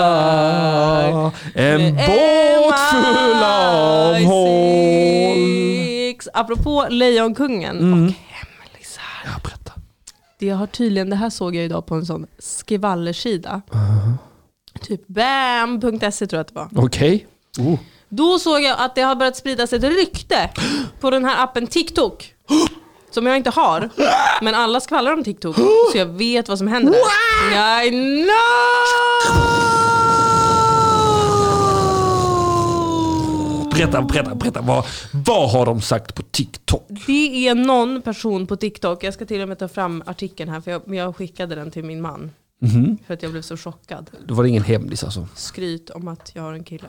[SPEAKER 4] Estonia. En båt full av hål. Mm.
[SPEAKER 2] MI6. Apropå Lejonkungen och hemlisar.
[SPEAKER 4] Ja, berätta.
[SPEAKER 2] Det har tydligen, det här såg jag idag på en sån skvallersida. Typ bam.se E tror jag att det var.
[SPEAKER 4] Okej. Oh.
[SPEAKER 2] Då såg jag att det har börjat spridas ett rykte på den här appen TikTok. Som jag inte har. Men alla skvallrar om TikTok. Så jag vet vad som händer där. I know!
[SPEAKER 4] Berätta, berätta, berätta. Vad, vad har de sagt på TikTok?
[SPEAKER 2] Det är någon person på TikTok, jag ska till och med ta fram artikeln här för jag, men jag skickade den till min man. För att jag blev så chockad.
[SPEAKER 4] Då var det ingen hemlis alltså.
[SPEAKER 2] Skryt om att jag har en kille.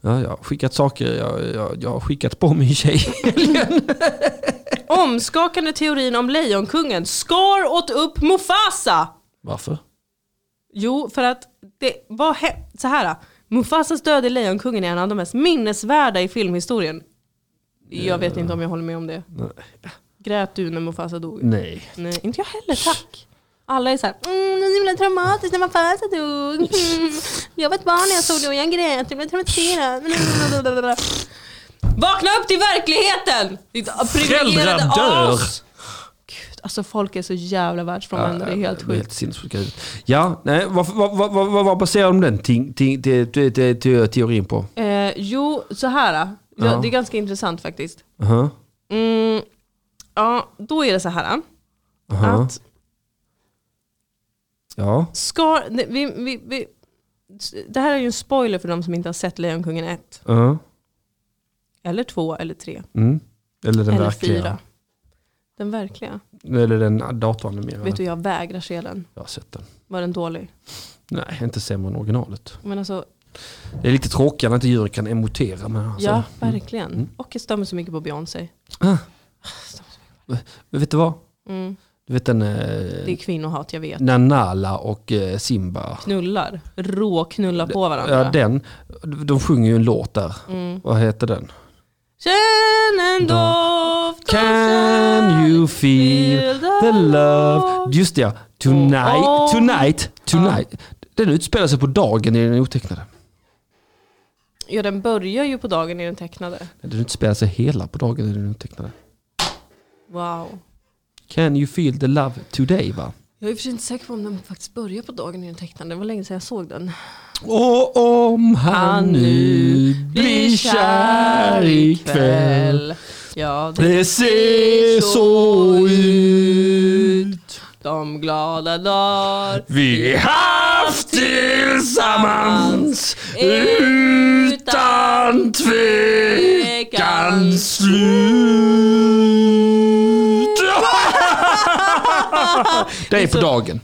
[SPEAKER 4] Ja, jag har skickat saker jag, jag, jag har skickat på min tjej.
[SPEAKER 2] Omskakande teorin om Lejonkungen. Scar åt upp Mufasa!
[SPEAKER 4] Varför?
[SPEAKER 2] Jo, för att det var he- så här. äh, Mufasas död i Lejonkungen är en av de mest minnesvärda i filmhistorien. Jag vet inte om jag håller med om det.
[SPEAKER 4] Nej.
[SPEAKER 2] Grät du när Mufasa dog?
[SPEAKER 4] Nej.
[SPEAKER 2] Nej, inte jag heller tack. Alla är så här, mm, det är så himla traumatiskt när man föds och dog. [LAUGHS] Mm. Jag var ett barn när jag såg det och jag grät, jag blev traumatiserad. Blablabla. Vakna upp till verkligheten! Ditt privilegierade
[SPEAKER 4] dör.
[SPEAKER 2] as! Gud, alltså folk är så jävla världsfrånvända, det är helt
[SPEAKER 4] Helt
[SPEAKER 2] sjukt.
[SPEAKER 4] sinnessjuka ut. Ja, nej, vad, vad, vad, vad, vad baserar de den ting, ting, te, te, te, te, teorin på?
[SPEAKER 2] Eh, jo, så här. eh. Ja,
[SPEAKER 4] Ja.
[SPEAKER 2] Det är ganska intressant faktiskt.
[SPEAKER 4] Aha,
[SPEAKER 2] Mm, ja, då är det så här. eh.
[SPEAKER 4] aha.
[SPEAKER 2] Att
[SPEAKER 4] Ja.
[SPEAKER 2] ska, nej, vi, vi, vi, det här är ju en spoiler för de som inte har sett Lejonkungen 1,
[SPEAKER 4] aha,
[SPEAKER 2] eller 2, eller 3,
[SPEAKER 4] mm. Eller den
[SPEAKER 2] eller
[SPEAKER 4] verkliga.
[SPEAKER 2] 4. Den verkliga.
[SPEAKER 4] Eller den datoranimerade.
[SPEAKER 2] Vet du, jag vägrar se den.
[SPEAKER 4] Jag har sett den.
[SPEAKER 2] Var den dålig?
[SPEAKER 4] Nej, inte sämre än originalet.
[SPEAKER 2] Men alltså,
[SPEAKER 4] Det är lite tråkigt när inte djur kan emotera. Men alltså,
[SPEAKER 2] ja, verkligen. Och jag stör mig så mycket på Beyoncé.
[SPEAKER 4] Ah.
[SPEAKER 2] Stör mig så mycket.
[SPEAKER 4] Men Vet du vad?
[SPEAKER 2] Mm.
[SPEAKER 4] Du vet den
[SPEAKER 2] Det är
[SPEAKER 4] eh,
[SPEAKER 2] kvinnohat, jag vet.
[SPEAKER 4] Nanala och eh, Simba.
[SPEAKER 2] Knullar. Råknullar på varandra. Mm.
[SPEAKER 4] Ja, den. De sjunger ju en låt där. Vad heter den?
[SPEAKER 2] Känn en doft av
[SPEAKER 4] Can you feel the love? Just det, ja. Tonight,
[SPEAKER 2] Oh.
[SPEAKER 4] tonight, tonight. Den utspelar sig på dagen i den otecknade.
[SPEAKER 2] Ja, den börjar ju på dagen i den tecknade.
[SPEAKER 4] Den utspelar sig hela på dagen i den otecknade.
[SPEAKER 2] Wow.
[SPEAKER 4] Can you feel the love today va?
[SPEAKER 2] Jag är i och för sig inte säker på om den faktiskt börjar på dagen i den tecknade. Det var länge sedan jag såg den.
[SPEAKER 4] Och om han nu blir kär ikväll
[SPEAKER 2] Ja, det
[SPEAKER 4] Det ser så ut
[SPEAKER 2] de glada dagar
[SPEAKER 4] vi haft tillsammans utan tvekan slut [LAUGHS] Det är på dagen.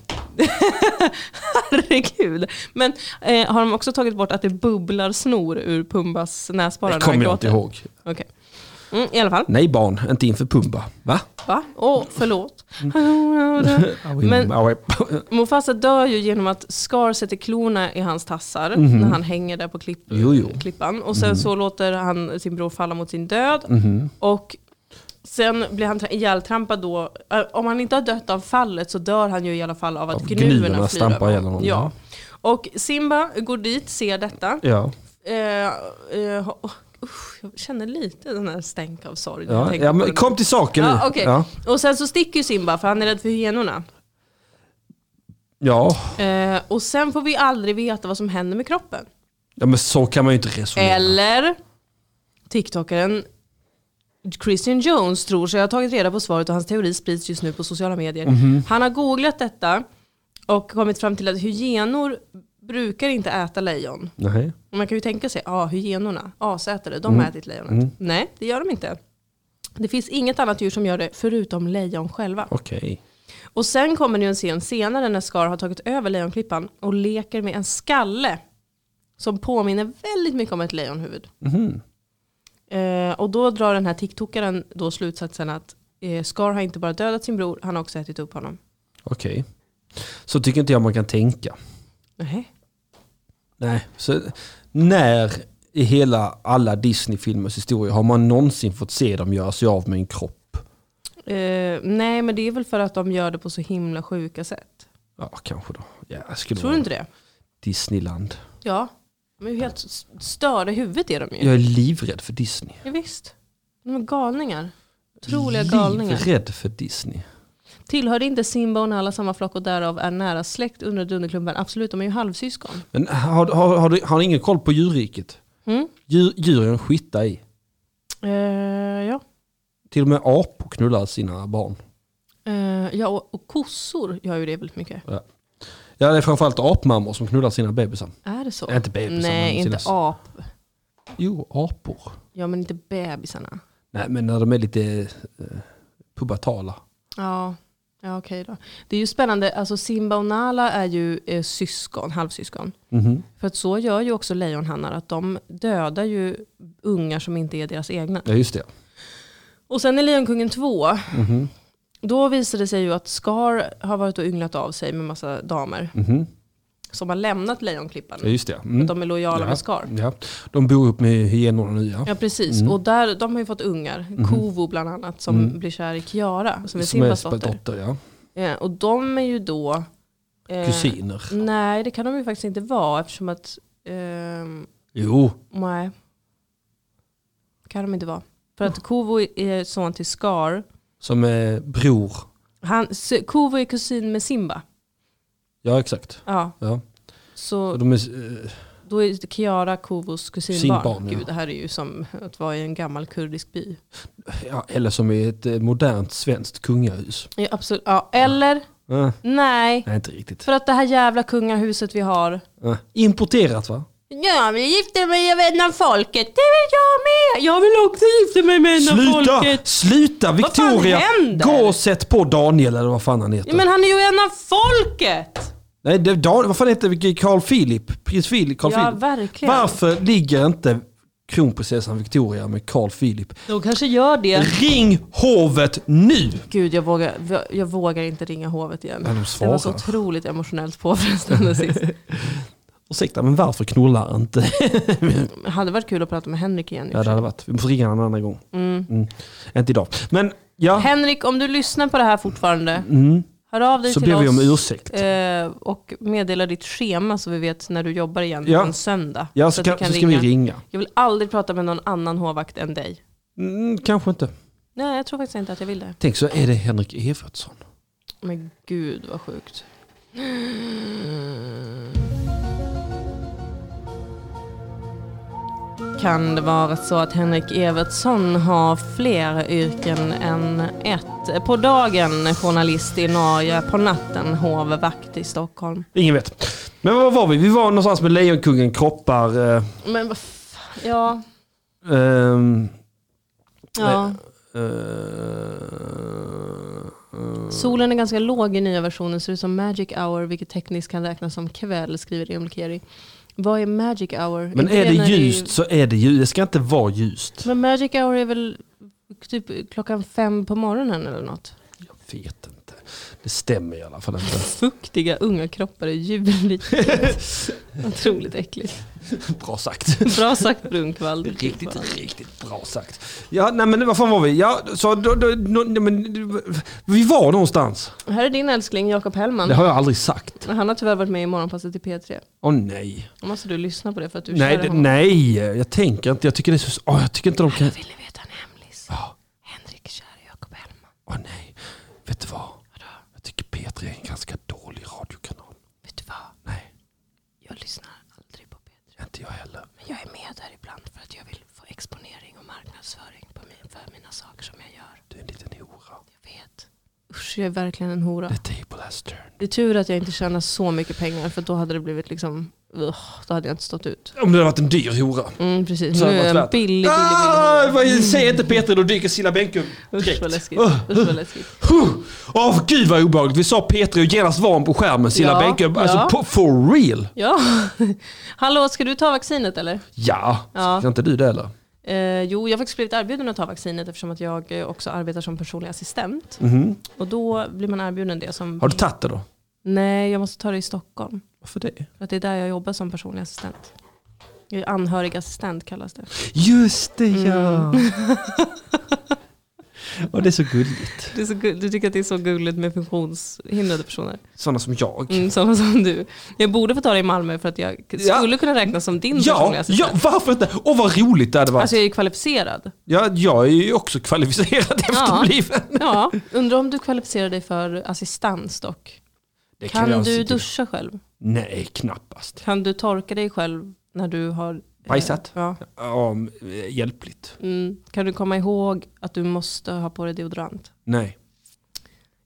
[SPEAKER 2] Herregud. Men eh, har de också tagit bort att det bubblar snor ur Pumbas näsborrar?
[SPEAKER 4] Det
[SPEAKER 2] när
[SPEAKER 4] kommer
[SPEAKER 2] han
[SPEAKER 4] jag inte
[SPEAKER 2] gråter?
[SPEAKER 4] ihåg.
[SPEAKER 2] Okej. Mm, I alla fall.
[SPEAKER 4] Nej barn, inte inför Pumba. Va? Mm.
[SPEAKER 2] Va? Åh, förlåt.
[SPEAKER 4] [LAUGHS]
[SPEAKER 2] Men- Mufasa dör ju genom att Scar sätter klorna i hans tassar när han hänger där på klipp,
[SPEAKER 4] Mhm. Jo, jo.
[SPEAKER 2] klippan. Och sen så låter han sin bror falla mot sin död.
[SPEAKER 4] Mhm.
[SPEAKER 2] Och sen blir han tra- ihjältrampad då. Eh, Om han inte har dött av fallet så dör han ju i alla fall av att
[SPEAKER 4] Av
[SPEAKER 2] gnuerna,
[SPEAKER 4] gnuerna
[SPEAKER 2] flyr
[SPEAKER 4] stampar
[SPEAKER 2] över
[SPEAKER 4] ihjäl honom,
[SPEAKER 2] Ja. Och Simba går dit, ser detta.
[SPEAKER 4] Ja,
[SPEAKER 2] Eh, eh, ha- oh, usch, jag känner lite den här stänk av sorg. när jag
[SPEAKER 4] ja,
[SPEAKER 2] tänker
[SPEAKER 4] ja
[SPEAKER 2] på
[SPEAKER 4] men
[SPEAKER 2] den.
[SPEAKER 4] kom till saken nu.
[SPEAKER 2] ja, okej.
[SPEAKER 4] Ja.
[SPEAKER 2] Och sen så sticker ju Simba för han är rädd för hyenorna.
[SPEAKER 4] Ja.
[SPEAKER 2] Eh, och sen får vi aldrig veta vad som händer med kroppen.
[SPEAKER 4] ja, men så kan man ju inte resonera.
[SPEAKER 2] Eller TikTokaren Christian Jones tror sig ha tagit reda på svaret och hans teori sprids just nu på sociala medier.
[SPEAKER 4] Mhm.
[SPEAKER 2] Han har googlat detta och kommit fram till att hyenor brukar inte äta lejon.
[SPEAKER 4] Nej.
[SPEAKER 2] Och Man kan ju tänka sig, ja ah, hyenorna, asätare, de har ätit lejonet. Nej, det gör de inte. Det finns inget annat djur som gör det förutom lejon själva.
[SPEAKER 4] Okej.
[SPEAKER 2] Och sen kommer det ju en scen senare när Scar har tagit över lejonklippan och leker med en skalle som påminner väldigt mycket om ett lejonhuvud. Eh, och då drar den här TikTokaren då slutsatsen att eh, Scar har inte bara dödat sin bror, han har också ätit upp honom.
[SPEAKER 4] Okej. Så tycker inte jag man kan tänka.
[SPEAKER 2] Nej.
[SPEAKER 4] Nej. Så när i hela alla Disney-filmers historia har man någonsin fått se dem göra sig av med en kropp?
[SPEAKER 2] Eh, nej, men det är väl för att de gör det på så himla sjuka sätt.
[SPEAKER 4] Ja, kanske då. Ja, det skulle
[SPEAKER 2] Tror
[SPEAKER 4] vara
[SPEAKER 2] du inte det?
[SPEAKER 4] Disneyland.
[SPEAKER 2] Ja. De är ju helt s- störda i huvudet är de ju.
[SPEAKER 4] Jag är livrädd för Disney.
[SPEAKER 2] Ja, visst. De är galningar. Otroliga galningar.
[SPEAKER 4] Livrädd för Disney.
[SPEAKER 2] Tillhörde inte Simba och Nala samma flock och därav är nära släkt under Dunderklumpen? Absolut, de är ju halvsyskon.
[SPEAKER 4] Men har, har, har, du, har ni ingen koll på djurriket?
[SPEAKER 2] Mm.
[SPEAKER 4] Djur, djur är en skitta i.
[SPEAKER 2] Eh, ja.
[SPEAKER 4] Till och med apor knullar sina barn.
[SPEAKER 2] Eh, ja, och, och kossor gör ju det väldigt mycket.
[SPEAKER 4] Ja, det är framförallt apmammor som knullar sina bebisar.
[SPEAKER 2] Är det så?
[SPEAKER 4] Ja, inte bebisar,
[SPEAKER 2] Nej,
[SPEAKER 4] men sina-
[SPEAKER 2] inte ap.
[SPEAKER 4] Jo, apor.
[SPEAKER 2] Ja, men inte bebisarna.
[SPEAKER 4] Nej, men när de är lite eh, pubertala.
[SPEAKER 2] Ja, ja okej då. Det är ju spännande, alltså Simba och Nala är ju eh, syskon, halvsyskon.
[SPEAKER 4] Mhm.
[SPEAKER 2] För att så gör ju också lejonhannar, att de dödar ju ungar som inte är deras egna.
[SPEAKER 4] Ja, Mhm. just det.
[SPEAKER 2] Och sen i Lejonkungen 2, då visade det sig ju att Scar har varit och ynglat av sig med massa damer
[SPEAKER 4] Mhm.
[SPEAKER 2] som har lämnat Lejonklippan.
[SPEAKER 4] Ja, just det. Mm.
[SPEAKER 2] För att de är lojala med
[SPEAKER 4] ja. Mm.
[SPEAKER 2] Scar.
[SPEAKER 4] ja. De bor upp med hyenorna nu, ja.
[SPEAKER 2] Ja precis, och där, de har ju fått ungar. Kovo bland annat som blir kär i Kiara, som är
[SPEAKER 4] Mm. Som är
[SPEAKER 2] Simbas
[SPEAKER 4] Simbas
[SPEAKER 2] dotter.
[SPEAKER 4] dotter. Ja.
[SPEAKER 2] Eh, och de är ju då... eh,
[SPEAKER 4] Kusiner.
[SPEAKER 2] Nej, det kan de ju faktiskt inte vara eftersom att... ehm,
[SPEAKER 4] Jo.
[SPEAKER 2] nej. kan de inte vara. För att Kovo är son till Scar.
[SPEAKER 4] Som är bror.
[SPEAKER 2] Han, S- Kovo är kusin med Simba.
[SPEAKER 4] Ja, exakt.
[SPEAKER 2] Ja,
[SPEAKER 4] Ja. Och
[SPEAKER 2] så
[SPEAKER 4] de är, eh,
[SPEAKER 2] då är Kiara Kovos kusinbarn.
[SPEAKER 4] Kusinbarn, ja.
[SPEAKER 2] Gud, det här är ju som att vara i en gammal kurdisk by.
[SPEAKER 4] ja, eller som i ett eh, modernt svenskt kungahus.
[SPEAKER 2] Ja, absolut. Ja, eller?
[SPEAKER 4] Eh,
[SPEAKER 2] Nej.
[SPEAKER 4] nej, inte riktigt.
[SPEAKER 2] För att det här jävla kungahuset vi har.
[SPEAKER 4] Eh, importerat va?
[SPEAKER 2] Jag vill gifta mig med en av folket. Det vill jag med. Jag vill också gifta mig med en av
[SPEAKER 4] Sluta!
[SPEAKER 2] folket.
[SPEAKER 4] Sluta
[SPEAKER 2] fan
[SPEAKER 4] Victoria!
[SPEAKER 2] händer?
[SPEAKER 4] Gå och sätt på Daniel eller vad fan han heter.
[SPEAKER 2] Ja, men han är ju en av folket.
[SPEAKER 4] Nej, det, Dan, vad fan heter det? Carl Philip? Prins Philip? Carl
[SPEAKER 2] Ja,
[SPEAKER 4] Philip.
[SPEAKER 2] verkligen.
[SPEAKER 4] Varför ligger inte kronprinsessan Victoria med Carl Philip?
[SPEAKER 2] De kanske gör det.
[SPEAKER 4] Ring hovet nu!
[SPEAKER 2] Gud, jag vågar, jag vågar inte ringa hovet igen.
[SPEAKER 4] Men de
[SPEAKER 2] Det var
[SPEAKER 4] svarar.
[SPEAKER 2] så otroligt emotionellt
[SPEAKER 4] [LAUGHS]
[SPEAKER 2] påfrestande sist.
[SPEAKER 4] Ursäkta, men varför knullar inte?
[SPEAKER 2] Det hade varit kul att prata med Henrik igen. i och
[SPEAKER 4] Ja,
[SPEAKER 2] för
[SPEAKER 4] det
[SPEAKER 2] sig.
[SPEAKER 4] hade varit. Vi måste ringa honom en annan gång. Mm. Inte idag. Men ja,
[SPEAKER 2] Henrik, om du lyssnar på det här fortfarande,
[SPEAKER 4] mm,
[SPEAKER 2] hör av dig
[SPEAKER 4] så
[SPEAKER 2] till
[SPEAKER 4] ber vi om
[SPEAKER 2] oss.
[SPEAKER 4] ursäkt.
[SPEAKER 2] eh, Och meddela ditt schema så vi vet när du jobbar igen
[SPEAKER 4] Ja.
[SPEAKER 2] på en söndag.
[SPEAKER 4] Ja,
[SPEAKER 2] så
[SPEAKER 4] så,
[SPEAKER 2] att vi
[SPEAKER 4] kan,
[SPEAKER 2] kan
[SPEAKER 4] så ska
[SPEAKER 2] ringa.
[SPEAKER 4] vi ringa.
[SPEAKER 2] Jag vill aldrig prata med någon annan hovvakt än dig.
[SPEAKER 4] Mm, kanske inte.
[SPEAKER 2] Nej, jag tror faktiskt inte att jag vill det.
[SPEAKER 4] Tänk så är det Henrik Evertsson.
[SPEAKER 2] Men gud vad sjukt. Kan det vara så att Henrik Evertsson har fler yrken än ett? På dagen journalist i Norge, på natten hovvakt i Stockholm.
[SPEAKER 4] Ingen vet. Men var var vi? Vi var någonstans med Lejonkungen, kroppar, eh,
[SPEAKER 2] Men vad fan, ja.
[SPEAKER 4] ehm,
[SPEAKER 2] ja.
[SPEAKER 4] eh, eh,
[SPEAKER 2] Solen är ganska låg i nya versionen, ser ut som magic hour, vilket tekniskt kan räknas som kväll, skriver Emil Keri. Vad är magic hour?
[SPEAKER 4] Men
[SPEAKER 2] Inte
[SPEAKER 4] är det
[SPEAKER 2] när
[SPEAKER 4] ljust så är det ljust. Det ska inte vara ljust.
[SPEAKER 2] Men magic hour är väl typ klockan fem på morgonen eller något?
[SPEAKER 4] Jag vet inte. Det stämmer i alla fall inte.
[SPEAKER 2] Fuktiga unga kroppar är ljuvligt. Otroligt äckligt.
[SPEAKER 4] [LAUGHS] Bra sagt.
[SPEAKER 2] Bra sagt Brunkvall.
[SPEAKER 4] Riktigt, riktigt bra sagt. Ja, nej men vad fan var vi? Ja, så då, då, nå- nej, men, vi var någonstans.
[SPEAKER 2] Här är din älskling Jakob Hellman.
[SPEAKER 4] Det har jag aldrig sagt.
[SPEAKER 2] Han har tyvärr varit med i Morgonpasset i P3.
[SPEAKER 4] Åh nej.
[SPEAKER 2] Då måste du lyssna på det för att du
[SPEAKER 4] Nej,
[SPEAKER 2] kör
[SPEAKER 4] det,
[SPEAKER 2] honom.
[SPEAKER 4] nej, jag tänker inte. Jag tycker det är så... Åh, jag tycker inte de kan...
[SPEAKER 2] Vill ni veta en hemlis?
[SPEAKER 4] Ja.
[SPEAKER 2] Henrik kär i Jakob Hellman.
[SPEAKER 4] Åh nej. Vet du vad? Jag tycker P3 är en ganska dålig radiokanal.
[SPEAKER 2] Vet du vad?
[SPEAKER 4] Nej,
[SPEAKER 2] Jag lyssnar aldrig på P3.
[SPEAKER 4] inte jag heller.
[SPEAKER 2] Men jag är med där ibland för att jag vill få exponering och marknadsföring på min, för mina saker som jag gör.
[SPEAKER 4] Du är en liten hora.
[SPEAKER 2] Jag vet. Usch, jag är verkligen en hora.
[SPEAKER 4] Det är Table has turned.
[SPEAKER 2] Det är tur att jag inte tjänar så mycket pengar för då hade det blivit liksom, ugh, då hade jag inte stått ut.
[SPEAKER 4] Om det hade varit en dyr hora.
[SPEAKER 2] Mm, precis,
[SPEAKER 4] Så
[SPEAKER 2] nu
[SPEAKER 4] hade
[SPEAKER 2] är jag en
[SPEAKER 4] det varit värt.
[SPEAKER 2] billig, billig,
[SPEAKER 4] Ah,
[SPEAKER 2] billig.
[SPEAKER 4] vad- Säg inte P3, då dyker Cilla Benkum.
[SPEAKER 2] Usch
[SPEAKER 4] direkt.
[SPEAKER 2] vad läskigt.
[SPEAKER 4] Ugh.
[SPEAKER 2] Usch vad läskigt.
[SPEAKER 4] Huh! Åh gud vad obehagligt. Vi sa Petri och genast var hon på skärmen. Cilla
[SPEAKER 2] Ja,
[SPEAKER 4] Benke, alltså
[SPEAKER 2] ja.
[SPEAKER 4] på, for real.
[SPEAKER 2] Ja. [LAUGHS] Hallå, ska du ta vaccinet eller?
[SPEAKER 4] Ja,
[SPEAKER 2] Ja.
[SPEAKER 4] ja. inte du det heller?
[SPEAKER 2] Eh, jo, jag har faktiskt blivit erbjuden att ta vaccinet eftersom att jag eh, också arbetar som personlig assistent.
[SPEAKER 4] Mhm.
[SPEAKER 2] Och då blir man erbjuden det som...
[SPEAKER 4] Har du tagit det då?
[SPEAKER 2] Nej, jag måste ta det i Stockholm.
[SPEAKER 4] Varför det?
[SPEAKER 2] För att det är där jag jobbar som personlig assistent. Jag är Anhörigassistent kallas det.
[SPEAKER 4] Just det ja. och det är så gulligt.
[SPEAKER 2] det är så gull- du tycker att det är så gulligt med funktionshindrade personer?
[SPEAKER 4] Sådana som jag.
[SPEAKER 2] Mm, samma som du. Jag borde få ta det i Malmö för att jag k-
[SPEAKER 4] Typ. Ja.
[SPEAKER 2] skulle kunna räknas som din personliga
[SPEAKER 4] Ja,
[SPEAKER 2] assistent.
[SPEAKER 4] ja, varför inte? Åh vad roligt det hade varit.
[SPEAKER 2] Alltså jag är ju
[SPEAKER 4] [LAUGHS]
[SPEAKER 2] kvalificerad.
[SPEAKER 4] ja, jag är ju också kvalificerad [LAUGHS] efterbliven.
[SPEAKER 2] Ja, undrar om du kvalificerar dig för assistans dock.
[SPEAKER 4] Det
[SPEAKER 2] Kan
[SPEAKER 4] jag
[SPEAKER 2] du
[SPEAKER 4] se till.
[SPEAKER 2] duscha själv?
[SPEAKER 4] Nej, knappast.
[SPEAKER 2] Kan du torka dig själv när du har... eh,
[SPEAKER 4] Bajsat?
[SPEAKER 2] Ja.
[SPEAKER 4] Ja, eh, hjälpligt.
[SPEAKER 2] Mm. Kan du komma ihåg att du måste ha på dig deodorant?
[SPEAKER 4] Nej.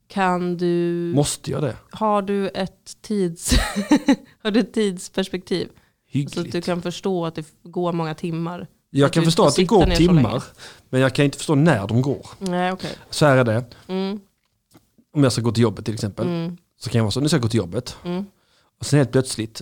[SPEAKER 2] Kan du...
[SPEAKER 4] Måste jag det?
[SPEAKER 2] Har du ett tids... [LAUGHS] har du ett tidsperspektiv? Så att
[SPEAKER 4] Hyggligt.
[SPEAKER 2] du kan förstå att det f- går många timmar.
[SPEAKER 4] Jag
[SPEAKER 2] Att
[SPEAKER 4] kan
[SPEAKER 2] du
[SPEAKER 4] förstå att det
[SPEAKER 2] sitter
[SPEAKER 4] går
[SPEAKER 2] ner så länge.
[SPEAKER 4] timmar, men jag kan inte förstå när de går.
[SPEAKER 2] Nej, okej.
[SPEAKER 4] Så här är det,
[SPEAKER 2] Mm,
[SPEAKER 4] om jag ska gå till jobbet till exempel,
[SPEAKER 2] mm,
[SPEAKER 4] så kan jag vara så, nu ska jag gå till jobbet.
[SPEAKER 2] mm.
[SPEAKER 4] Och sen helt plötsligt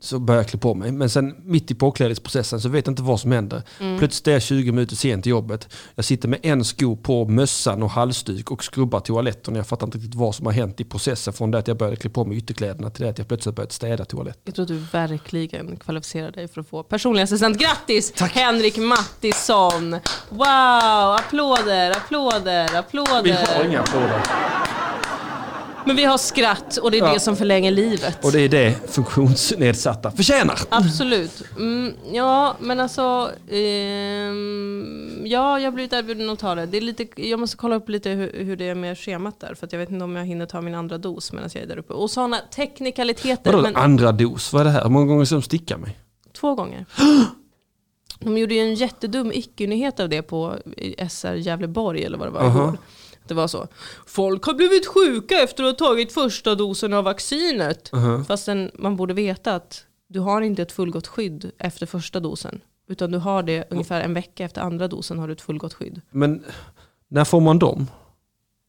[SPEAKER 4] så börjar jag klä på mig, men sen mitt i påklädningsprocessen så vet jag inte vad som händer.
[SPEAKER 2] Mm.
[SPEAKER 4] Plötsligt är jag 20 minuter sen till jobbet, jag sitter med en sko på, mössan och halsduk och skrubbar toaletten. Jag fattar inte riktigt vad som har hänt i processen från det att jag började klä på mig ytterkläderna till det att jag plötsligt börjat städa toaletten.
[SPEAKER 2] Jag tror att du verkligen kvalificerar dig för att få personlig assistent. Grattis Henrik Mattisson! Wow! Applåder, applåder, applåder.
[SPEAKER 4] applåder.
[SPEAKER 2] Men vi har skratt och det är
[SPEAKER 4] Ja.
[SPEAKER 2] det som förlänger livet.
[SPEAKER 4] Och det är det funktionsnedsatta förtjänar.
[SPEAKER 2] Absolut. Mm, ja, men alltså... ehm, ja, jag har blivit erbjuden att ta det. det är lite, jag måste kolla upp lite hur, hur det är med schemat där. För att jag vet inte om jag hinner ta min andra dos medan jag är där uppe. Och sådana teknikaliteter.
[SPEAKER 4] Vadå
[SPEAKER 2] men-
[SPEAKER 4] andra dos? Vad är det här? Hur många gånger ska de sticka mig?
[SPEAKER 2] Två gånger. De gjorde ju en jättedum icke-nyhet av det på SR Gävleborg eller vad det var igår. Det var så. Folk har blivit sjuka efter att ha tagit första dosen av vaccinet.
[SPEAKER 4] Uh-huh.
[SPEAKER 2] Fastän man borde veta att du har inte ett fullgott skydd efter första dosen. Utan du har det ungefär en vecka efter andra dosen har du ett fullgott skydd.
[SPEAKER 4] Men när får man dem?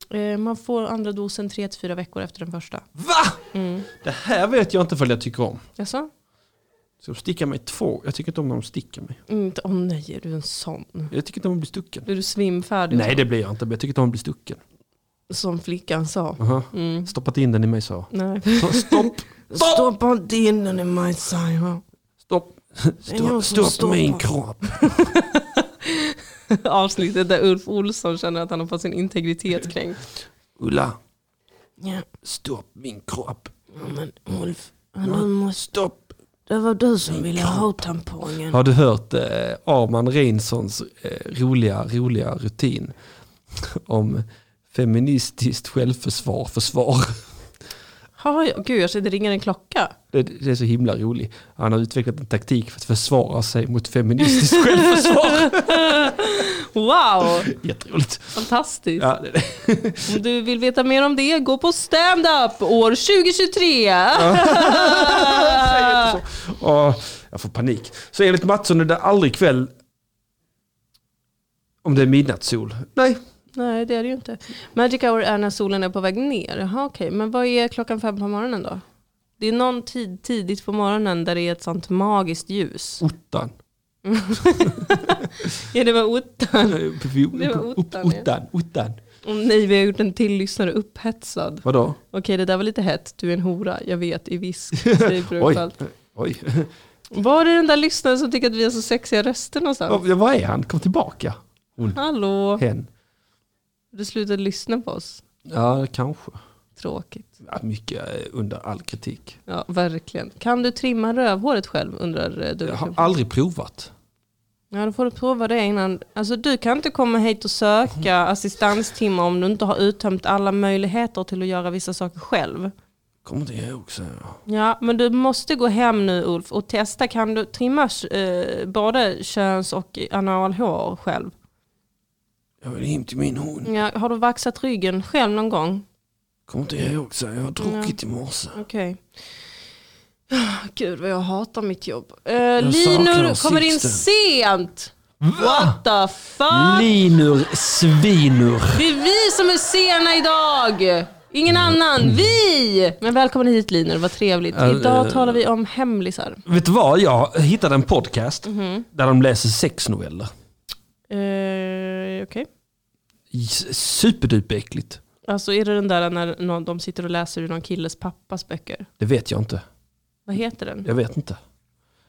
[SPEAKER 2] Eh, Man får andra dosen tre till fyra veckor efter den första. Mm.
[SPEAKER 4] Va? Det här vet jag inte vad jag tycker om.
[SPEAKER 2] Jaså?
[SPEAKER 4] Ska de sticka mig två? Jag tycker inte om när de sticker mig.
[SPEAKER 2] Inte, Mm, åh nej, är du en sån?
[SPEAKER 4] Jag tycker inte om att bli stucken.
[SPEAKER 2] Är du svimfärdig?
[SPEAKER 4] Nej det blir jag inte, men jag tycker inte om att bli stucken.
[SPEAKER 2] Som flickan sa.
[SPEAKER 4] Aha. Stoppat in den i mig så.
[SPEAKER 2] Nej.
[SPEAKER 4] Uh-huh. [LAUGHS] Stopp!
[SPEAKER 5] Stoppa inte in den i mig, säger jag.
[SPEAKER 4] Stopp!
[SPEAKER 5] är jag som
[SPEAKER 4] Stopp, stopp
[SPEAKER 5] stoppar.
[SPEAKER 4] min kropp!
[SPEAKER 2] [LAUGHS] avsnittet där Ulf Olsson känner att han har fått sin integritet kränkt.
[SPEAKER 4] Ulla,
[SPEAKER 5] Ja,
[SPEAKER 4] stopp min kropp!
[SPEAKER 5] ja, men Ulf, ja, du måste,
[SPEAKER 4] Stopp!
[SPEAKER 5] det var du som ville ha tampongen.
[SPEAKER 4] Har du hört eh, Arman Reinsons eh, roliga, roliga rutin [LAUGHS] om feministiskt självförsvar, försvar?
[SPEAKER 2] Har jag, gud, jag ser det ringer en klocka.
[SPEAKER 4] Det, det är så himla roligt. Han har utvecklat en taktik för att försvara sig mot [LAUGHS] feministiskt självförsvar.
[SPEAKER 2] [LAUGHS] Wow,
[SPEAKER 4] Jätteroligt.
[SPEAKER 2] fantastiskt.
[SPEAKER 4] Ja, det,
[SPEAKER 2] Om du vill veta mer om det, gå på stand-up år 2023.
[SPEAKER 4] Säg
[SPEAKER 2] [LAUGHS]
[SPEAKER 4] inte så. Åh, jag får panik. Så enligt Mattsson är det aldrig kväll om det är midnattssol. Nej,
[SPEAKER 2] Nej, det är det ju inte. Magic hour är när solen är på väg ner. Jaha, okej. Men vad är klockan fem på morgonen då? Det är någon tid tidigt på morgonen där det är ett sånt magiskt ljus.
[SPEAKER 4] ottan.
[SPEAKER 2] Är det var ottan? Det var
[SPEAKER 4] Upp-
[SPEAKER 2] ottan, ja.
[SPEAKER 4] Ottan, ottan.
[SPEAKER 2] Åh nej, vi har gjort en till lyssnare upphetsad.
[SPEAKER 4] Vadå?
[SPEAKER 2] Okej, det där var lite hett. Du är en hora, jag vet, i
[SPEAKER 4] [LAUGHS]
[SPEAKER 2] visk. säger
[SPEAKER 4] Oj.
[SPEAKER 2] Brunfeldt.
[SPEAKER 4] Oj.
[SPEAKER 2] Var är den där lyssnaren som tycker att vi har så sexiga röster någonstans?
[SPEAKER 4] Ja, Vad är han? Kom tillbaka.
[SPEAKER 2] Hallå?
[SPEAKER 4] Hen.
[SPEAKER 2] Du slutade lyssna på oss.
[SPEAKER 4] Ja, kanske.
[SPEAKER 2] Tråkigt.
[SPEAKER 4] Ja, Mycket eh, under all kritik.
[SPEAKER 2] Ja, verkligen. Kan du trimma rövhåret själv, undrar eh, du.
[SPEAKER 4] Jag har aldrig provat.
[SPEAKER 2] Ja, då får du prova det innan. Alltså, du kan inte komma hit och söka
[SPEAKER 4] Mm.
[SPEAKER 2] assistanstimmar om du inte har uttömt alla möjligheter till att göra vissa saker själv.
[SPEAKER 4] Kommer inte ihåg. Så. här.
[SPEAKER 2] Ja, men du måste gå hem nu Ulf och testa. Kan du trimma eh, både köns och analhår själv?
[SPEAKER 4] Jag vill hem till min hund.
[SPEAKER 2] Ja, har du vaxat ryggen själv någon gång?
[SPEAKER 4] Kommer inte ihåg. Så. här. Jag har druckit i morse.
[SPEAKER 2] Okej. Gud vad jag hatar mitt jobb. Eh,
[SPEAKER 4] saknar
[SPEAKER 2] Linur kommer in
[SPEAKER 4] Sixten.
[SPEAKER 2] sent! What the fuck?
[SPEAKER 4] Linur Svinur.
[SPEAKER 2] Det är vi som är sena idag! Ingen
[SPEAKER 4] Mm.
[SPEAKER 2] annan, vi! Men välkommen hit Linur, vad trevligt. Idag talar vi om hemlisar.
[SPEAKER 4] Vet du vad? Jag hittade en podcast där de läser sexnoveller.
[SPEAKER 2] Eh, Okej.
[SPEAKER 4] S- Superduperäckligt.
[SPEAKER 2] Alltså är det den där när någon, de sitter och läser ur någon killes pappas böcker?
[SPEAKER 4] Det vet jag inte.
[SPEAKER 2] Vad heter den?
[SPEAKER 4] Jag vet inte.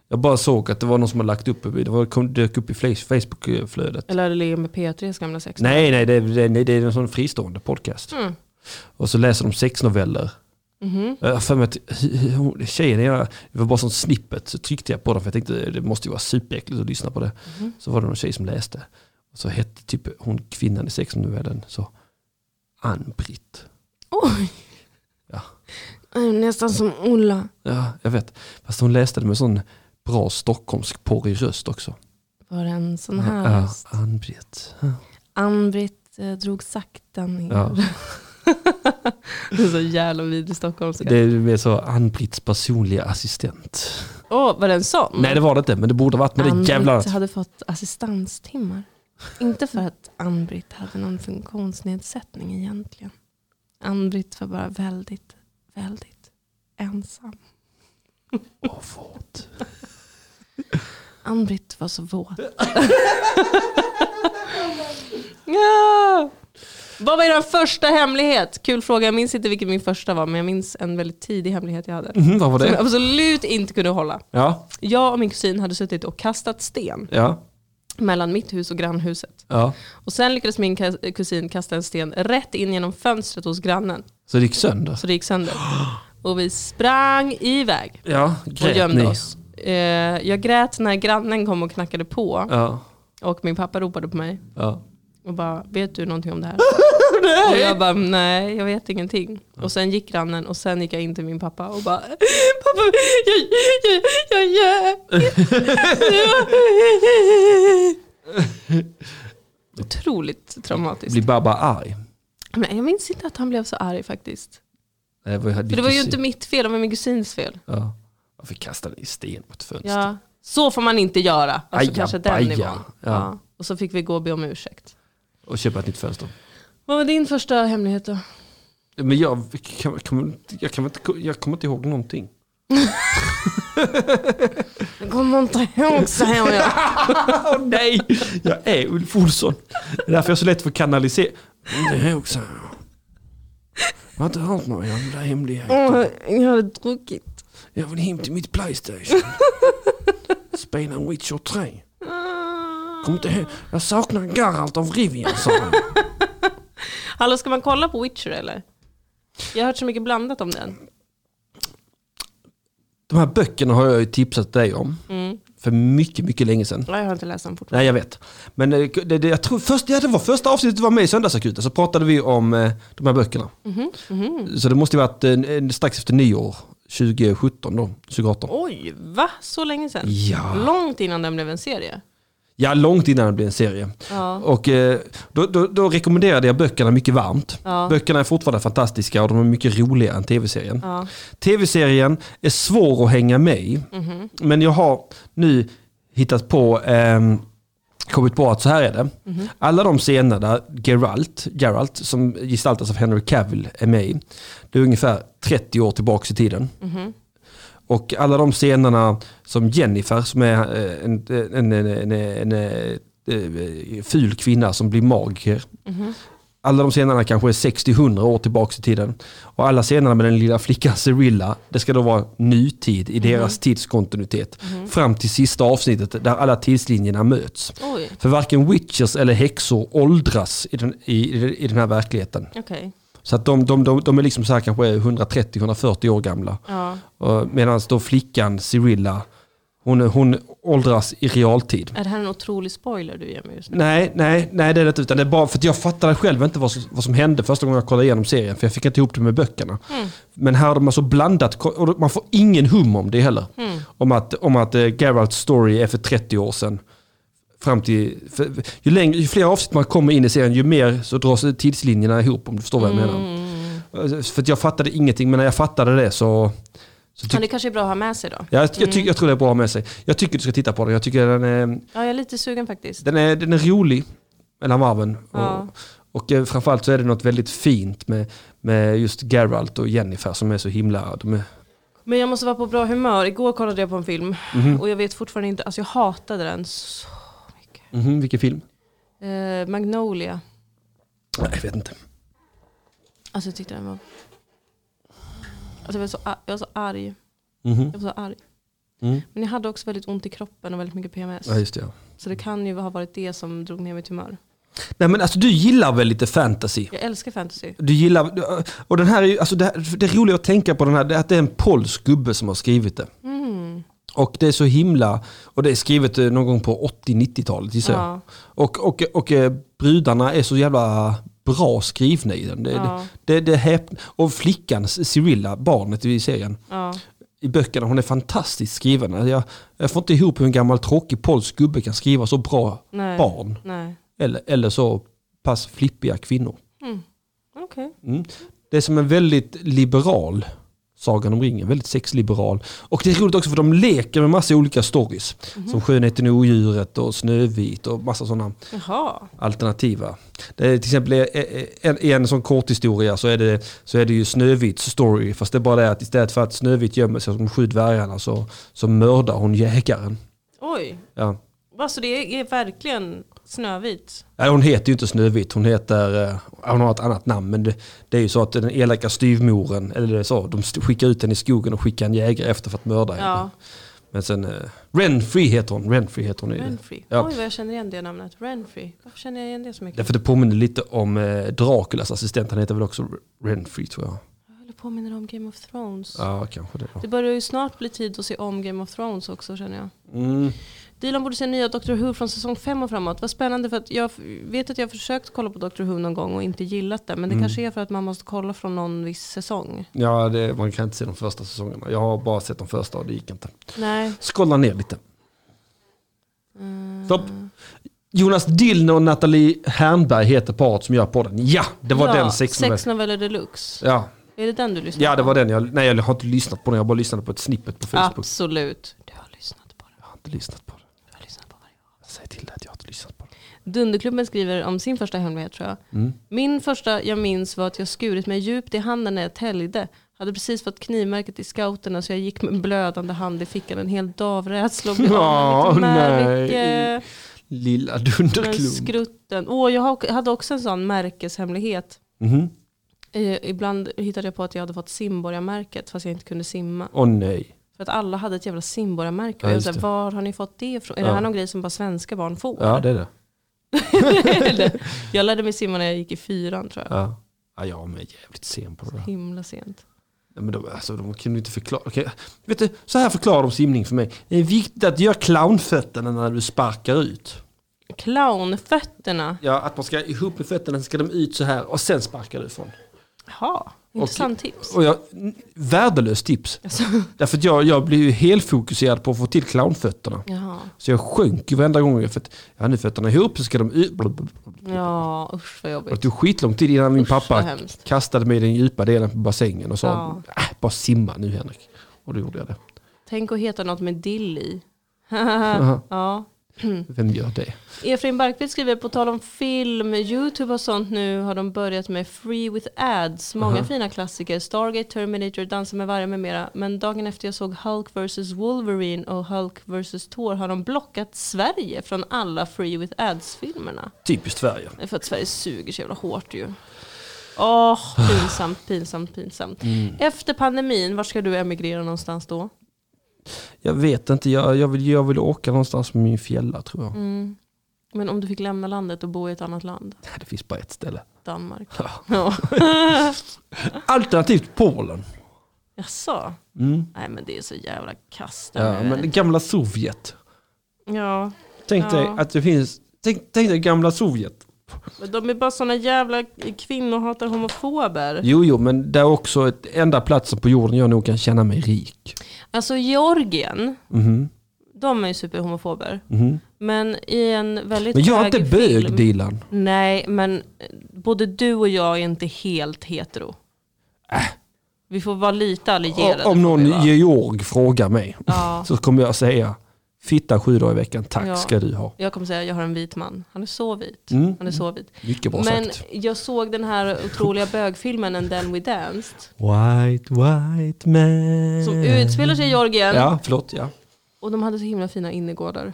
[SPEAKER 4] Jag bara såg att det var någon som hade lagt upp, det var, kom, dök upp i Fla- Facebook-flödet.
[SPEAKER 2] Eller är det Leo med P3s gamla sex?
[SPEAKER 4] Nej, nej, det, är- det, är- det är en sån fristående podcast.
[SPEAKER 2] Mm.
[SPEAKER 4] Och så läser de sexnoveller.
[SPEAKER 2] Mhm.
[SPEAKER 4] Jag har för mig att hu- hu- hon- tjejen, jag, det var bara sån snippet, så tryckte jag på den för jag tänkte det måste ju vara superäckligt att lyssna på det.
[SPEAKER 2] Mhm.
[SPEAKER 4] Så var det någon tjej som läste. Och så hette typ hon kvinnan i sexnovellen så Ann-Britt.
[SPEAKER 5] Oj!
[SPEAKER 4] Ja.
[SPEAKER 5] Jag är nästan som Ulla.
[SPEAKER 4] Ja, jag vet. Fast hon läste det med sån bra stockholmsk porrig röst också.
[SPEAKER 2] Var det en sån här?
[SPEAKER 4] Ja, Ann-Britt.
[SPEAKER 2] Ann-Britt eh, drog sakta ner.
[SPEAKER 4] Ja.
[SPEAKER 2] [LAUGHS] Det är så jävla vidrig stockholmska.
[SPEAKER 4] Det är mer så Ann-Britts personliga assistent.
[SPEAKER 2] Åh, var det en sån?
[SPEAKER 4] Nej det var det inte, men det borde varit med det
[SPEAKER 2] Ann-Britt
[SPEAKER 4] jävla...
[SPEAKER 2] hade fått assistanstimmar. Inte för att Ann-Britt hade någon funktionsnedsättning egentligen. Ann-Britt var bara väldigt, väldigt ensam.
[SPEAKER 4] Åh, förlåt.
[SPEAKER 2] [LAUGHS] Ann-Britt var så våt. [LAUGHS] ja. Vad var er första hemlighet? Kul fråga, jag minns inte vilken min första var, men jag minns en väldigt tidig hemlighet jag hade.
[SPEAKER 4] Mhm, vad var
[SPEAKER 2] Som jag
[SPEAKER 4] det?
[SPEAKER 2] absolut inte kunde hålla.
[SPEAKER 4] Ja,
[SPEAKER 2] Jag och min kusin hade suttit och kastat sten.
[SPEAKER 4] ja.
[SPEAKER 2] mellan mitt hus och grannhuset.
[SPEAKER 1] Ja.
[SPEAKER 2] Och sen lyckades min kas- kusin kasta en sten rätt in genom fönstret hos grannen.
[SPEAKER 1] Så det gick sönder?
[SPEAKER 2] Så det gick sönder. Och vi sprang iväg
[SPEAKER 1] Ja,
[SPEAKER 2] och
[SPEAKER 1] grät
[SPEAKER 2] gömde
[SPEAKER 1] ni?
[SPEAKER 2] oss. Eh, jag grät när grannen kom och knackade på.
[SPEAKER 1] Ja,
[SPEAKER 2] Och min pappa ropade på mig
[SPEAKER 1] ja.
[SPEAKER 2] och bara, vet du någonting om det
[SPEAKER 5] [LAUGHS]
[SPEAKER 2] här? Och jag bara, nej jag vet ingenting. Och sen gick grannen och sen gick jag in till min pappa och bara, [LAUGHS] pappa jag, jag, jag, jag,
[SPEAKER 5] [LAUGHS]
[SPEAKER 2] [LAUGHS] Otroligt traumatiskt.
[SPEAKER 1] Blir Baba arg?
[SPEAKER 2] Men jag minns inte att han blev så arg faktiskt.
[SPEAKER 1] Nej, Det var,
[SPEAKER 2] För det var ju inte mitt fel, det var min kusins fel.
[SPEAKER 1] Ja. Varför kastade ni sten mot fönstret?
[SPEAKER 2] Ja. Så får man inte göra. Alltså
[SPEAKER 1] Aja,
[SPEAKER 2] kanske den
[SPEAKER 1] baja.
[SPEAKER 2] nivån.
[SPEAKER 1] Ja.
[SPEAKER 2] Ja. Och så fick vi gå och be om ursäkt.
[SPEAKER 1] Och köpa ett nytt fönster? [LAUGHS]
[SPEAKER 2] Vad var din första hemlighet då?
[SPEAKER 1] Men jag, kan, kan, jag, kan inte, jag kommer inte ihåg någonting.
[SPEAKER 5] Jag kommer inte ihåg så här jag. [LAUGHS]
[SPEAKER 1] Åh nej! Jag är Ulf Olsson. Det är därför jag är så lätt för att kanalisera. Mm, Det är också... Jag har inte hört några jävla hemligheter.
[SPEAKER 5] Åh, Jag hade druckit.
[SPEAKER 1] Jag vill hem till mitt Playstation. Spela en Witcher 3.
[SPEAKER 2] Ah.
[SPEAKER 1] Kom inte ihåg. Jag saknar Geralt av Rivia, sa han.
[SPEAKER 2] Hallå, ska man kolla på Witcher eller? Jag har hört så mycket blandat om den.
[SPEAKER 1] De här böckerna har jag ju tipsat dig om. För mycket, mycket länge sedan.
[SPEAKER 2] Ja, Mm. Jag har inte läst den fortfarande.
[SPEAKER 1] Nej, jag vet. Men eh, det, det, jag tror först, ja, det var första avsnittet du var med i Söndagsakuten så pratade vi om eh, de här böckerna. Så det måste ju varit eh, en- strax efter nyår, 2017 då, 2018.
[SPEAKER 2] Oj, va? Så länge sedan?
[SPEAKER 1] Ja.
[SPEAKER 2] Långt innan den blev en serie.
[SPEAKER 1] ja, långt innan det blev en serie.
[SPEAKER 2] Ja.
[SPEAKER 1] Och eh, då, då, då rekommenderade jag böckerna mycket varmt.
[SPEAKER 2] Ja.
[SPEAKER 1] Böckerna är fortfarande fantastiska och de är mycket roligare än tv-serien.
[SPEAKER 2] Ja.
[SPEAKER 1] Tv-serien är svår att hänga med i. Men jag har nu hittat på, ehm, kommit på att så här är det. Alla de scener där Geralt, Geralt, som gestaltas av Henry Cavill, är med i, det är ungefär 30 år tillbaka i tiden. Och alla de scenerna som Jennifer, som är eh, en, en, en, en, en, eh, eh, ful kvinna som blir magiker, alla de scenerna kanske är 60-100 år tillbaka i tiden. Och alla scenerna med den lilla flickan Cyrilla, det ska då vara nutid i deras tidskontinuitet. Fram till sista avsnittet där alla tidslinjerna möts.
[SPEAKER 2] Oj,
[SPEAKER 1] För varken witches eller häxor åldras i den, i, i den här verkligheten.
[SPEAKER 2] okej.
[SPEAKER 1] Så att de, de, de, de är liksom så här kanske 130-140 år gamla.
[SPEAKER 2] Ja.
[SPEAKER 1] Medan då flickan Cyrilla, hon, hon åldras i realtid.
[SPEAKER 2] Är det här en otrolig spoiler du ger mig just nu?
[SPEAKER 1] Nej, nej, nej det är det inte. Utan det är bara för att jag fattade själv inte vad som, vad som hände första gången jag kollade igenom serien. För jag fick inte ihop det med böckerna. Men här har de alltså blandat, ko- och man får ingen hum om det heller. Om att, om att eh, Geralts story är för 30 år sedan. Fram till, för, ju, längre, ju fler avsnitt man kommer in i serien, ju mer så dras tidslinjerna ihop om du förstår vad jag
[SPEAKER 2] Mm.
[SPEAKER 1] menar. Eh, För att jag fattade ingenting, men när jag fattade det så... så
[SPEAKER 2] Ja,
[SPEAKER 1] tyck,
[SPEAKER 2] det kanske är bra att ha med sig då.
[SPEAKER 1] jag, jag, tyck, jag tror det är bra att ha med sig. Jag tycker du ska titta på den. Jag tycker den är,
[SPEAKER 2] Ja, jag är lite sugen faktiskt.
[SPEAKER 1] den är, den är rolig mellan varven.
[SPEAKER 2] Ja.
[SPEAKER 1] Och, och eh, framförallt så är det något väldigt fint med, med just Geralt och Jennifer som är så himla... De är,
[SPEAKER 2] Men jag måste vara på bra humör. Igår kollade jag på en film
[SPEAKER 1] Mhm.
[SPEAKER 2] och jag vet fortfarande inte, alltså jag hatade den så mycket.
[SPEAKER 1] Mhm, vilken film?
[SPEAKER 2] Eh, Magnolia.
[SPEAKER 1] Nej, jag vet inte.
[SPEAKER 2] Alltså jag tyckte den var... Alltså jag var så, ar- jag var så arg.
[SPEAKER 1] Mhm.
[SPEAKER 2] Jag var så arg.
[SPEAKER 1] Mm.
[SPEAKER 2] Men jag hade också väldigt ont i kroppen och väldigt mycket PMS.
[SPEAKER 1] Ja, just det. Ja.
[SPEAKER 2] Så det kan ju ha varit det som drog ner mitt humör.
[SPEAKER 1] Nej, men alltså du gillar väl lite fantasy?
[SPEAKER 2] Jag älskar fantasy.
[SPEAKER 1] Du gillar... Och den här är ju, alltså det, här- det roliga att tänka på den här det är att det är en polsk gubbe som har skrivit det.
[SPEAKER 2] Mm.
[SPEAKER 1] Och det är så himla... Och det är skrivet eh, någon gång på 80-90-talet gissar jag.
[SPEAKER 2] Ja.
[SPEAKER 1] Och, och, och eh, brudarna är så jävla bra skrivna i den. Det,
[SPEAKER 2] Ja.
[SPEAKER 1] det, det, det är häp- och flickan, Cyrilla, barnet i serien,
[SPEAKER 2] Ja.
[SPEAKER 1] i böckerna, hon är fantastiskt skriven. Alltså Jag, jag får inte ihop hur en gammal tråkig polsk gubbe kan skriva så bra
[SPEAKER 2] Nej.
[SPEAKER 1] barn.
[SPEAKER 2] Nej.
[SPEAKER 1] Eller, eller så pass flippiga kvinnor.
[SPEAKER 2] Okej.
[SPEAKER 1] Mm. Det är som en väldigt liberal Sagan om ringen, väldigt sexliberal. Och det är roligt också för de leker med massa olika stories. Som Skönheten och odjuret och Snövit och massa sådana
[SPEAKER 2] Jaha.
[SPEAKER 1] alternativa. Det är till exempel i- i- en, i en sån kort historia så är det, så är det ju Snövits story. Fast det är bara det att istället för att Snövit gömmer sig som sju dvärgarna så, så mördar hon jägaren.
[SPEAKER 2] Oj.
[SPEAKER 1] Ja.
[SPEAKER 2] Va, så det är verkligen Snövit?
[SPEAKER 1] Nej, hon heter ju inte Snövit, hon heter, eh, hon har ett annat namn. Men det, det är ju så att den elaka styvmoren, eller det är så, de st- skickar ut henne i skogen och skickar en jägare efter för att mörda henne.
[SPEAKER 2] Ja.
[SPEAKER 4] Men sen... Eh, Renfree heter hon. Renfree heter hon. i-
[SPEAKER 2] Renfrey.
[SPEAKER 4] Ja.
[SPEAKER 2] Oj vad jag känner igen det namnet. Renfrey. Varför känner jag igen det så mycket?
[SPEAKER 4] Därför det påminner lite om eh, Draculas assistent. Han heter väl också Renfree tror jag.
[SPEAKER 2] Jag håller påminner om Game of Thrones.
[SPEAKER 4] Ja, kanske det. Ja.
[SPEAKER 2] Det börjar ju snart bli tid att se om Game of Thrones också känner jag.
[SPEAKER 4] Mm.
[SPEAKER 2] Dilan borde se nya Doctor Who från säsong 5 och framåt. Vad spännande för att jag f- vet att jag har försökt kolla på Doctor Who någon gång och inte gillat det.
[SPEAKER 4] Mm.
[SPEAKER 2] Men det kanske är för att man måste kolla från någon viss säsong.
[SPEAKER 4] Ja, det, man kan inte se de första säsongerna. Jag har bara sett de första och det gick inte.
[SPEAKER 2] Nej.
[SPEAKER 4] Skrolla ner lite.
[SPEAKER 2] Eh,
[SPEAKER 4] Stopp.
[SPEAKER 2] Mm.
[SPEAKER 4] Jonas Dillner och Nathalie Hernberg heter paret som gör podden. Ja, det var
[SPEAKER 2] ja,
[SPEAKER 4] den sexnovellen.
[SPEAKER 2] Sex noveller deluxe.
[SPEAKER 4] Ja.
[SPEAKER 2] Är det den du lyssnar
[SPEAKER 4] ja, det
[SPEAKER 2] på?
[SPEAKER 4] var den. Jag, nej, jag har inte lyssnat på den. Jag har bara lyssnat på ett snippet på Facebook.
[SPEAKER 2] Absolut. Du har lyssnat på den.
[SPEAKER 4] Jag har inte lyssnat på den.
[SPEAKER 2] Du har lyssnat på varje avsnitt.
[SPEAKER 4] Säg till dig att jag har inte lyssnat på den.
[SPEAKER 2] Dunderklubben skriver om sin första hemlighet tror jag.
[SPEAKER 4] Mm.
[SPEAKER 2] Min första jag minns var att jag skurit mig djupt i handen när jag täljde. Hade precis fått knivmärket i scouterna så jag gick med en blödande hand i fickan en hel dag av rädsla och blev
[SPEAKER 4] [LAUGHS] Ja,
[SPEAKER 2] av med mitt
[SPEAKER 4] nej.
[SPEAKER 2] märke.
[SPEAKER 4] Lilla
[SPEAKER 2] Men
[SPEAKER 4] dunderklump.
[SPEAKER 2] skrutten. Åh, jag har- hade också en sån märkeshemlighet.
[SPEAKER 4] Mhm.
[SPEAKER 2] Eh, Ibland hittade jag på att jag hade fått simborgarmärket fast jag inte kunde simma.
[SPEAKER 4] Åh nej.
[SPEAKER 2] För att alla hade ett jävla simborgarmärke.
[SPEAKER 4] Ja,
[SPEAKER 2] Och jag
[SPEAKER 4] just
[SPEAKER 2] sa,
[SPEAKER 4] det.
[SPEAKER 2] var har ni fått det ifrån? Är
[SPEAKER 4] Ja.
[SPEAKER 2] det här någon grej som bara svenska barn får?
[SPEAKER 4] Ja, det är det.
[SPEAKER 2] [LAUGHS] Eller, jag lärde mig simma när jag gick i fyran tror jag.
[SPEAKER 4] Ja. Ja, jag är jävligt sen på det där.
[SPEAKER 2] Himla sent.
[SPEAKER 4] Nej, men de, alltså, de kunde ju inte förklara. Okej. Vet du, så här förklarar de simning för mig. Det är viktigt att göra clownfötterna när du sparkar ut.
[SPEAKER 2] Clownfötterna.
[SPEAKER 4] Ja, att man ska ihop med fötterna, så ska de ut så här och sen sparkar du ifrån.
[SPEAKER 2] Jaha, intressant tips. Alltså,
[SPEAKER 4] Och jag, n- värdelöst tips. Därför att jag, jag blev ju helt fokuserad på att få till clownfötterna.
[SPEAKER 2] [LAUGHS] Jaha.
[SPEAKER 4] Så jag sjönk ju varenda gång. För att jag hade fötterna ihop så ska de ut. Blub, blub, blub.
[SPEAKER 2] Ja, usch vad
[SPEAKER 4] Och Det
[SPEAKER 2] jobbigt.
[SPEAKER 4] tog skitlång tid innan min
[SPEAKER 2] Usch, vad
[SPEAKER 4] pappa
[SPEAKER 2] hemskt.
[SPEAKER 4] kastade mig i den djupa delen på bassängen och sa
[SPEAKER 2] Ja.
[SPEAKER 4] "Äh, bara simma nu Henrik. Och då gjorde jag det.
[SPEAKER 2] Tänk att heta något med dill i.
[SPEAKER 4] Aha.
[SPEAKER 2] ja. Mm.
[SPEAKER 4] Vem gör det?
[SPEAKER 2] Efraim Barkvist skriver på tal om film, YouTube och sånt nu har de börjat med Free with ads. Många fina klassiker, Stargate, Terminator, Dansa med vargar med mera. Men dagen efter jag såg Hulk vs Wolverine och Hulk vs Thor har de blockat Sverige från alla Free with ads-filmerna.
[SPEAKER 4] Typiskt Sverige.
[SPEAKER 2] Det är För att Sverige suger så jävla hårt ju. Åh, pinsamt, pinsamt, pinsamt. Efter pandemin, var ska du emigrera någonstans då?
[SPEAKER 4] Jag vet inte, jag, jag, vill, jag vill åka någonstans med min fjälla tror
[SPEAKER 2] Mm.
[SPEAKER 4] jag.
[SPEAKER 2] Men om du fick lämna landet och bo i ett annat land?
[SPEAKER 4] Nej, Det finns bara ett ställe.
[SPEAKER 2] Danmark.
[SPEAKER 4] Ja.
[SPEAKER 2] Ja.
[SPEAKER 4] Alternativt Polen.
[SPEAKER 2] Jaså?
[SPEAKER 4] Mm.
[SPEAKER 2] Nej men det är så jävla kast.
[SPEAKER 4] Ja, men det gamla Sovjet.
[SPEAKER 2] ja,
[SPEAKER 4] Tänk dig
[SPEAKER 2] Ja.
[SPEAKER 4] att det finns, tänk, tänk dig gamla Sovjet.
[SPEAKER 2] men de är bara såna jävla kvinnohatar homofober.
[SPEAKER 4] Jo, jo, men det är också ett enda platsen på jorden jag nog kan känna mig rik.
[SPEAKER 2] Alltså Georgien,
[SPEAKER 4] Mhm,
[SPEAKER 2] de är ju superhomofober.
[SPEAKER 4] mhm.
[SPEAKER 2] Men i en väldigt
[SPEAKER 4] Men jag är
[SPEAKER 2] hög
[SPEAKER 4] inte bög,
[SPEAKER 2] film-
[SPEAKER 4] Dilan.
[SPEAKER 2] Nej, men både du och jag är inte helt hetero. Vi får vara lite allierade.
[SPEAKER 4] Äh.
[SPEAKER 2] får
[SPEAKER 4] Om någon
[SPEAKER 2] vi vara.
[SPEAKER 4] georg frågar mig
[SPEAKER 2] Ja,
[SPEAKER 4] så kommer jag säga fitta sju dagar i veckan, tack
[SPEAKER 2] Ja.
[SPEAKER 4] ska du ha.
[SPEAKER 2] jag kommer säga jag har en vit man. Han är så vit.
[SPEAKER 4] Mm.
[SPEAKER 2] Han är så vit.
[SPEAKER 4] Mycket bra
[SPEAKER 2] Men
[SPEAKER 4] sagt.
[SPEAKER 2] jag såg den här otroliga bögfilmen And then we danced.
[SPEAKER 4] White, white man.
[SPEAKER 2] Som utspelar sig i Georgien.
[SPEAKER 4] Mm. Ja, förlåt, ja.
[SPEAKER 2] Och de hade så himla fina innergårdar.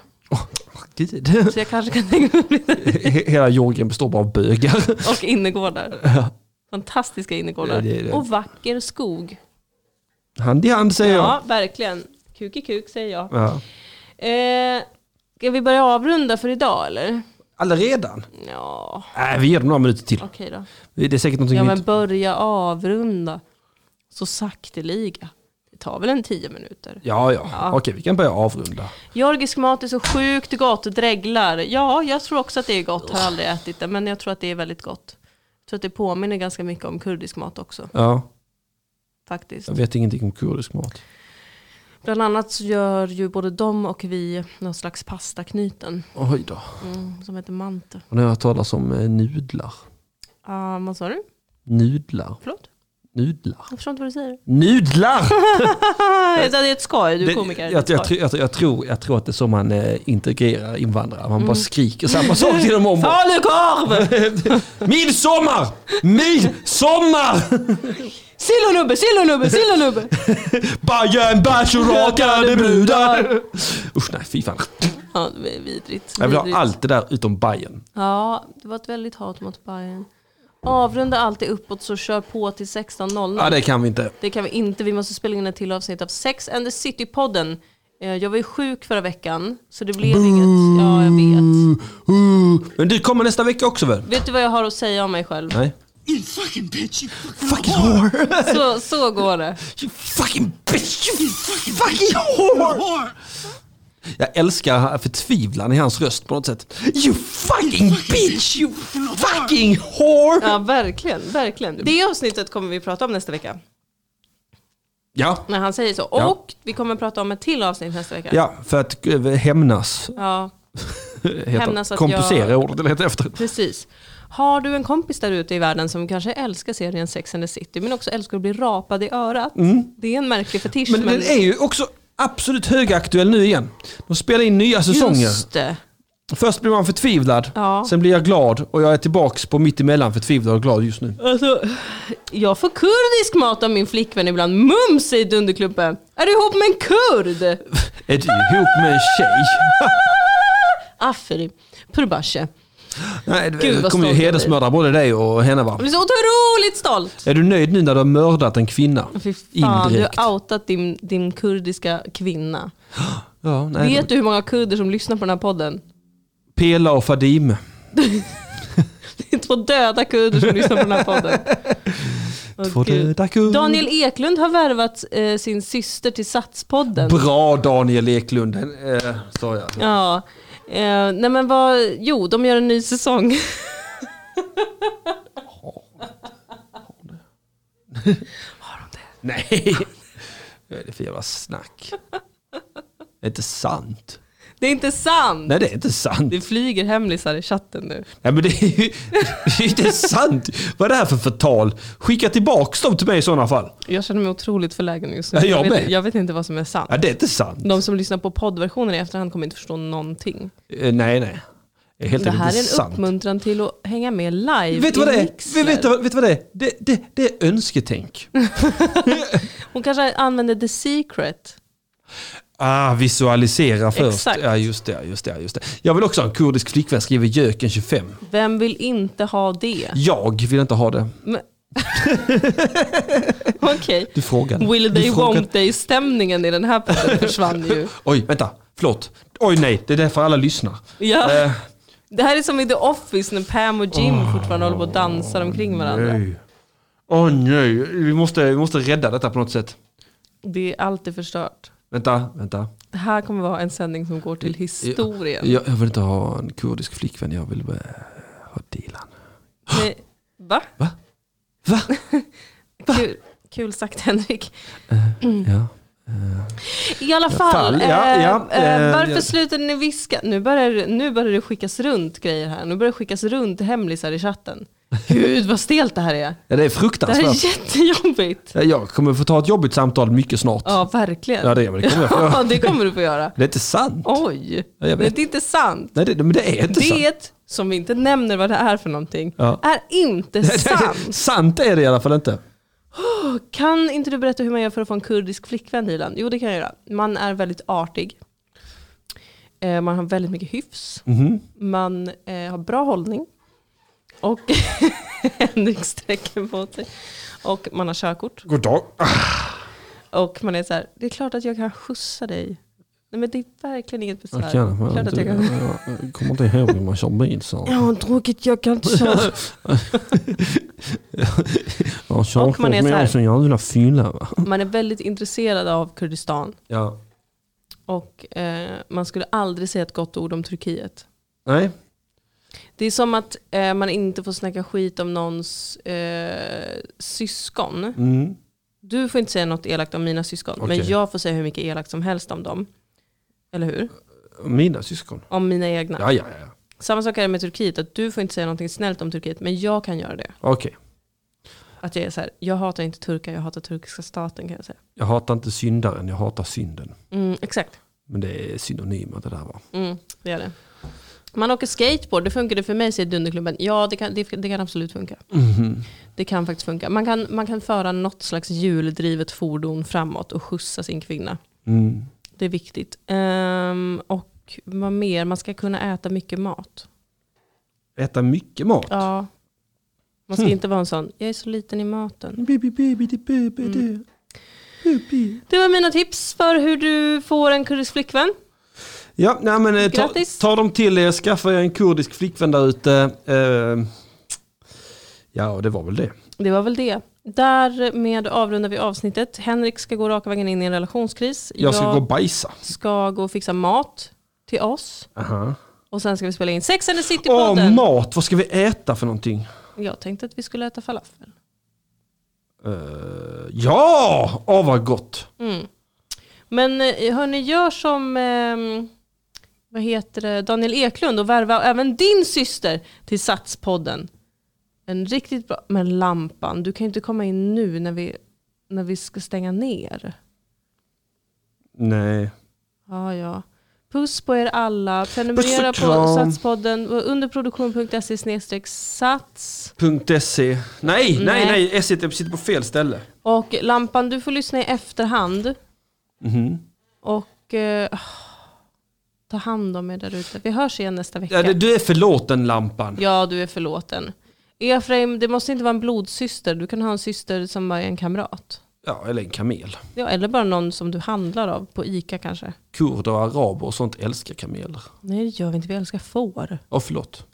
[SPEAKER 4] Gud.
[SPEAKER 2] Så jag kanske kan tänka mig att bli
[SPEAKER 4] [LAUGHS] He- Hela Georgien består bara av bögar.
[SPEAKER 2] Och
[SPEAKER 4] [LAUGHS]
[SPEAKER 2] innergårdar. Fantastiska innergårdar.
[SPEAKER 4] Ja, det är det.
[SPEAKER 2] Och vacker skog.
[SPEAKER 4] Hand i hand säger
[SPEAKER 2] Ja, verkligen. Kuk i kuk säger jag.
[SPEAKER 4] jag. Ja.
[SPEAKER 2] Eh, ska vi börja avrunda för idag eller?
[SPEAKER 4] Allaredan?
[SPEAKER 2] Ja,
[SPEAKER 4] Nej, vi ger dem några minuter till.
[SPEAKER 2] okej då.
[SPEAKER 4] Det är säkert någonting
[SPEAKER 2] Ja men
[SPEAKER 4] nytt.
[SPEAKER 2] börja avrunda. Så sakteliga. Det tar väl en tio minuter.
[SPEAKER 4] Ja, ja. Okej, vi kan börja avrunda.
[SPEAKER 2] Georgisk mat är så sjukt gott och dreglar. Ja, jag tror också att det är gott. Har aldrig ätit det, men jag tror att det är väldigt gott. Jag tror att det påminner ganska mycket om kurdisk mat också,
[SPEAKER 4] Ja,
[SPEAKER 2] faktiskt.
[SPEAKER 4] jag vet ingenting om kurdisk mat.
[SPEAKER 2] Bland annat så gör ju både de och vi någon slags pastaknyten
[SPEAKER 4] Oj då.
[SPEAKER 2] mm, som heter mante.
[SPEAKER 4] Och nu har jag talat om eh, nudlar.
[SPEAKER 2] Ah, vad sa du?
[SPEAKER 4] Nudlar.
[SPEAKER 2] Förlåt?
[SPEAKER 4] Nudlar.
[SPEAKER 2] Jag förstår inte vad du säger.
[SPEAKER 4] Nudlar!
[SPEAKER 2] Ah, det är ett skoj, du är komiker.
[SPEAKER 4] Jag,
[SPEAKER 2] det är ett
[SPEAKER 4] jag,
[SPEAKER 2] skoj.
[SPEAKER 4] jag, tror- jag, tror- jag, tror, jag tror att det är så man eh, integrerar invandrare. Man
[SPEAKER 2] Mm.
[SPEAKER 4] bara skriker samma sak
[SPEAKER 2] [LAUGHS]
[SPEAKER 4] till dem om
[SPEAKER 2] Ah,
[SPEAKER 4] och
[SPEAKER 2] Falukorv!
[SPEAKER 4] Midsommar! Midsommar!
[SPEAKER 2] Sill och nubbe, sill och nubbe, sill och nubbe!
[SPEAKER 4] [LAUGHS] Bajen, bärs och rakade brudar. Usch nej, fy fan.
[SPEAKER 2] Ja, det är vidrigt.
[SPEAKER 4] Jag vill ha
[SPEAKER 2] vidrigt.
[SPEAKER 4] allt det där utom Bajen.
[SPEAKER 2] Ja, det var ett väldigt hat mot Bayern. Avrunda alltid uppåt så kör på till 16.00.
[SPEAKER 4] Ja, det kan vi inte.
[SPEAKER 2] Det kan vi inte, vi måste spela in ett till avsnitt av Sex and the City-podden. Eh, Eh, Jag var ju sjuk förra veckan, så det blev inget. Ja, jag vet.
[SPEAKER 4] Uh,
[SPEAKER 1] Men du kommer nästa vecka också väl?
[SPEAKER 2] Vet du vad jag har att säga om mig själv?
[SPEAKER 1] Nej.
[SPEAKER 6] You fucking bitch, you fucking,
[SPEAKER 1] Fucking whore!
[SPEAKER 2] Så, så går det.
[SPEAKER 1] You fucking bitch! You fucking whore!
[SPEAKER 6] whore!
[SPEAKER 1] Jag älskar förtvivlan i hans röst på något sätt. You fucking bitch! You fucking whore!
[SPEAKER 2] Ja, verkligen, verkligen. Det avsnittet kommer vi prata om nästa vecka.
[SPEAKER 1] Ja,
[SPEAKER 2] När han säger så.
[SPEAKER 1] Ja.
[SPEAKER 2] Och vi kommer prata om ett till avsnitt nästa vecka.
[SPEAKER 1] ja för att eh, hämnas. eh,
[SPEAKER 2] Ja,
[SPEAKER 1] Heter.
[SPEAKER 2] Hämnas att
[SPEAKER 1] Komplicera
[SPEAKER 2] jag-
[SPEAKER 1] ordet jag letar efter.
[SPEAKER 2] precis. Har du en kompis där ute i världen som kanske älskar serien Sex and the City men också älskar att bli rapad i örat? Det är en märklig fetisch.
[SPEAKER 1] Mm. Men den är ju också absolut högaktuell nu igen. De spelar in nya säsonger.
[SPEAKER 2] Just det.
[SPEAKER 1] Först blir man förtvivlad,
[SPEAKER 2] Ja.
[SPEAKER 1] sen blir jag glad och jag är tillbaks på mittemellan förtvivlad och glad just nu.
[SPEAKER 2] Alltså, jag får kurdisk mat av min flickvän ibland. Mums i Dunderklubben. Är du ihop med en kurd?
[SPEAKER 1] Är du ihop med en tjej?
[SPEAKER 2] Afri. Purbashe.
[SPEAKER 1] Nej,
[SPEAKER 2] Gud,
[SPEAKER 1] det
[SPEAKER 2] vad
[SPEAKER 1] kommer ju
[SPEAKER 2] stolt jag
[SPEAKER 1] hedersmörda både dig och henne va?
[SPEAKER 2] Jag blir så otroligt stolt.
[SPEAKER 1] Är du nöjd nu när du har mördat en kvinna?
[SPEAKER 2] Fy fan, du
[SPEAKER 1] Indirekt.
[SPEAKER 2] har outat din, din kurdiska kvinna.
[SPEAKER 1] Ja, nej,
[SPEAKER 2] Vet du hur många kurder som lyssnar på den här podden?
[SPEAKER 1] Pela och Fadime.
[SPEAKER 2] Det är två döda kurder som lyssnar på den här podden. Åh,
[SPEAKER 1] Två
[SPEAKER 2] Gud.
[SPEAKER 1] döda kung.
[SPEAKER 2] Daniel Eklund har värvat eh, sin syster till Satspodden.
[SPEAKER 1] Bra Daniel Eklund, eh, sa jag.
[SPEAKER 2] Ja. Eh, nej men vad, jo de gör en ny säsong. [LAUGHS]
[SPEAKER 1] Nej, vad är det för jävla snack? Det är inte sant.
[SPEAKER 2] Det är inte sant!
[SPEAKER 1] Nej, det är inte sant.
[SPEAKER 2] Det flyger hemlisar i chatten nu.
[SPEAKER 1] Nej, men det är ju det är ju inte sant. Vad är det här för förtal? Skicka tillbaks dem till mig i sådana fall.
[SPEAKER 2] Jag känner mig otroligt förlägen just nu.
[SPEAKER 1] Ja, jag
[SPEAKER 2] vet,
[SPEAKER 1] med.
[SPEAKER 2] jag vet inte vad som är sant.
[SPEAKER 1] Ja, det är inte sant.
[SPEAKER 2] De som lyssnar på poddversionen i efterhand kommer inte förstå någonting.
[SPEAKER 1] Eh, Nej, nej. Det är helt
[SPEAKER 2] det
[SPEAKER 1] enkelt
[SPEAKER 2] här är
[SPEAKER 1] inte
[SPEAKER 2] en
[SPEAKER 1] sant.
[SPEAKER 2] uppmuntran till att hänga med live
[SPEAKER 1] Vet du vad
[SPEAKER 2] i
[SPEAKER 1] det är?
[SPEAKER 2] Mixler.
[SPEAKER 1] Vet du vad- vet du vad det är? Det, det, det är önsketänk.
[SPEAKER 2] Hon kanske använder the secret.
[SPEAKER 1] Ah, visualisera först.
[SPEAKER 2] Exakt.
[SPEAKER 1] Ja, just det, just det, just det. Jag vill också ha en kurdisk flickvän, skriver Jöken 25.
[SPEAKER 2] Vem vill inte ha det? [LAUGHS]
[SPEAKER 1] Jag vill inte ha det.
[SPEAKER 2] Men- Okej.
[SPEAKER 1] Du frågade.
[SPEAKER 2] Will
[SPEAKER 1] du
[SPEAKER 2] they
[SPEAKER 1] frågade.
[SPEAKER 2] won't they-stämningen i den här podden försvann
[SPEAKER 1] [LAUGHS]
[SPEAKER 2] ju.
[SPEAKER 1] Oj, vänta. Förlåt. Oj, nej. Det är därför alla lyssnar.
[SPEAKER 2] Ja.
[SPEAKER 1] Eh,
[SPEAKER 2] Det här är som i The Office när Pam och Jim fortfarande håller på och dansar omkring varandra.
[SPEAKER 1] Ah. nej. Åh nej. Vi måste, vi måste rädda detta på något sätt.
[SPEAKER 2] Det är alltid förstört.
[SPEAKER 1] Vänta, vänta.
[SPEAKER 2] Det här kommer vara en sändning som går till historien.
[SPEAKER 1] Jag, jag vill inte ha en kurdisk flickvän, jag vill bara ha Dilan.
[SPEAKER 2] Nej, va?
[SPEAKER 1] Va? Va?
[SPEAKER 2] [LAUGHS] Kul, kul sagt Henrik. Mm.
[SPEAKER 1] Ja.
[SPEAKER 2] I alla fall,
[SPEAKER 1] fall,
[SPEAKER 2] eh,
[SPEAKER 1] ja, ja,
[SPEAKER 2] eh,
[SPEAKER 1] eh,
[SPEAKER 2] varför
[SPEAKER 1] ja.
[SPEAKER 2] slutade ni viska? Nu börjar, det- nu börjar det skickas runt grejer här. Nu börjar det skickas runt hemlisar i chatten. Gud vad stelt det här är.
[SPEAKER 1] ja, det är
[SPEAKER 2] Det här
[SPEAKER 1] fruktansvärt.
[SPEAKER 2] är jättejobbigt.
[SPEAKER 1] Ja, Jag kommer få ta ett jobbigt samtal mycket snart. Ja,
[SPEAKER 2] Ja, verkligen.
[SPEAKER 1] det, men det kommer jag
[SPEAKER 2] [LAUGHS]
[SPEAKER 1] få
[SPEAKER 2] Ja,
[SPEAKER 1] göra.
[SPEAKER 2] det kommer du få göra.
[SPEAKER 1] Det är inte sant.
[SPEAKER 2] Oj,
[SPEAKER 1] Ja, jag
[SPEAKER 2] det
[SPEAKER 1] vet.
[SPEAKER 2] är inte sant.
[SPEAKER 1] Nej, det, men det är inte sant.
[SPEAKER 2] Det som vi inte nämner vad det är för någonting
[SPEAKER 1] Ja.
[SPEAKER 2] är inte
[SPEAKER 1] [LAUGHS]
[SPEAKER 2] sant.
[SPEAKER 1] sant är det i alla fall inte.
[SPEAKER 2] Kan inte du berätta hur man gör för att få en kurdisk flickvän Dilan? Jo det kan jag göra. Man är väldigt artig. Eh, Man har väldigt mycket hyfs.
[SPEAKER 4] Mhm.
[SPEAKER 2] Man eh, har bra hållning. Och [LAUGHS] Henrik sträcker på sig. Och man har körkort.
[SPEAKER 1] God dag.
[SPEAKER 2] Och man är så här, det är klart att jag kan skjutsa dig. Nej men det är verkligen inget besvär.
[SPEAKER 1] Jag, kan, men
[SPEAKER 2] klart att
[SPEAKER 1] inte,
[SPEAKER 2] jag
[SPEAKER 1] jag,
[SPEAKER 2] kan.
[SPEAKER 1] jag kommer inte ihåg hur man kör bil.
[SPEAKER 5] Jag
[SPEAKER 1] Så.
[SPEAKER 5] har druckit, jag kan inte köra.
[SPEAKER 1] Jag har körkort
[SPEAKER 2] man är så
[SPEAKER 1] med
[SPEAKER 2] här-
[SPEAKER 1] oss en jävla fylla. va?
[SPEAKER 2] Man är väldigt intresserad av Kurdistan.
[SPEAKER 1] Ja.
[SPEAKER 2] Och eh, man skulle aldrig säga ett gott ord om Turkiet.
[SPEAKER 1] Nej.
[SPEAKER 2] Det är som att eh, man inte får snacka skit om någons eh, syskon.
[SPEAKER 1] Mm.
[SPEAKER 2] Du får inte säga något elakt om mina syskon, men
[SPEAKER 1] Okej.
[SPEAKER 2] jag får säga hur mycket elakt som helst om dem. Eller hur?
[SPEAKER 1] Mina syskon.
[SPEAKER 2] Om mina egna.
[SPEAKER 1] Ja, ja, ja.
[SPEAKER 2] Samma sak är det med Turkiet, att du får inte säga någonting snällt om Turkiet, men jag kan göra det.
[SPEAKER 1] Okej.
[SPEAKER 2] Att jag är så här, jag hatar inte turkar, jag hatar turkiska staten kan jag säga.
[SPEAKER 1] Jag hatar inte syndaren, jag hatar synden.
[SPEAKER 2] Mm, exakt,
[SPEAKER 1] Men det är synonymer det där va?
[SPEAKER 2] mm, det är det. Man åker skateboard, det funkade för mig säger Dunderklubben. Ja, det kan, det, det kan absolut funka.
[SPEAKER 1] Mhm.
[SPEAKER 2] Det kan faktiskt funka. Man kan, man kan föra något slags hjuldrivet fordon framåt och skjutsa sin kvinna.
[SPEAKER 1] Mm.
[SPEAKER 2] Det är viktigt. Ehm, och vad mer? Man ska kunna äta mycket mat.
[SPEAKER 1] Äta mycket mat.
[SPEAKER 2] Ja. Man ska
[SPEAKER 1] Hmm.
[SPEAKER 2] inte vara en sån, jag är så liten i maten. Mm.
[SPEAKER 1] Bibi, bibi, di, bibi, di.
[SPEAKER 2] Det var mina tips för hur du får en kurdisk flickvän.
[SPEAKER 4] Ja, nej, men, eh, ta,
[SPEAKER 2] Grattis.
[SPEAKER 4] ta dem till er, skaffa er en kurdisk flickvän där ute. Eh, ja, och det var väl det.
[SPEAKER 2] Det var väl det. Därmed avrundar vi avsnittet. Henrik ska gå raka vägen in i en relationskris.
[SPEAKER 4] Jag ska gå och bajsa.
[SPEAKER 2] ska gå och fixa mat till oss.
[SPEAKER 4] Aha.
[SPEAKER 2] Och sen ska vi spela in Sex and the
[SPEAKER 4] Åh,
[SPEAKER 2] City-podden.
[SPEAKER 4] mat! Vad ska vi äta för någonting?
[SPEAKER 2] Jag tänkte att vi skulle äta falafel.
[SPEAKER 4] Eh, ja! Åh, vad gott!
[SPEAKER 2] Mm. Men eh, hörni, gör som ehm, vad heter det? Daniel Eklund och värva även din syster till Satspodden. En riktigt bra... Men lampan, du kan ju inte komma in nu när vi, när vi ska stänga ner.
[SPEAKER 4] Nej.
[SPEAKER 2] Ja, ja. Puss på er alla. Prenumerera
[SPEAKER 4] Puss och kram.
[SPEAKER 2] på Satspodden under produktion.se sats.
[SPEAKER 4] .se. E. Nej, nej,
[SPEAKER 2] Nej.
[SPEAKER 4] nej. S E sitter på fel ställe.
[SPEAKER 2] Och Lampan, du får lyssna i efterhand.
[SPEAKER 4] Mhm.
[SPEAKER 2] Och eh, ta hand om er där ute. Vi hörs igen nästa vecka.
[SPEAKER 4] Ja, det- du är förlåten, Lampan.
[SPEAKER 2] Ja, du är förlåten. Efraim, det måste inte vara en blodsyster. Du kan ha en syster som bara är en kamrat.
[SPEAKER 4] Ja, eller en kamel.
[SPEAKER 2] Ja, eller bara någon som du handlar av på ICA kanske.
[SPEAKER 4] Kurder och araber och sånt älskar kameler.
[SPEAKER 2] Nej, det gör vi inte. Vi älskar får.
[SPEAKER 4] Åh, förlåt.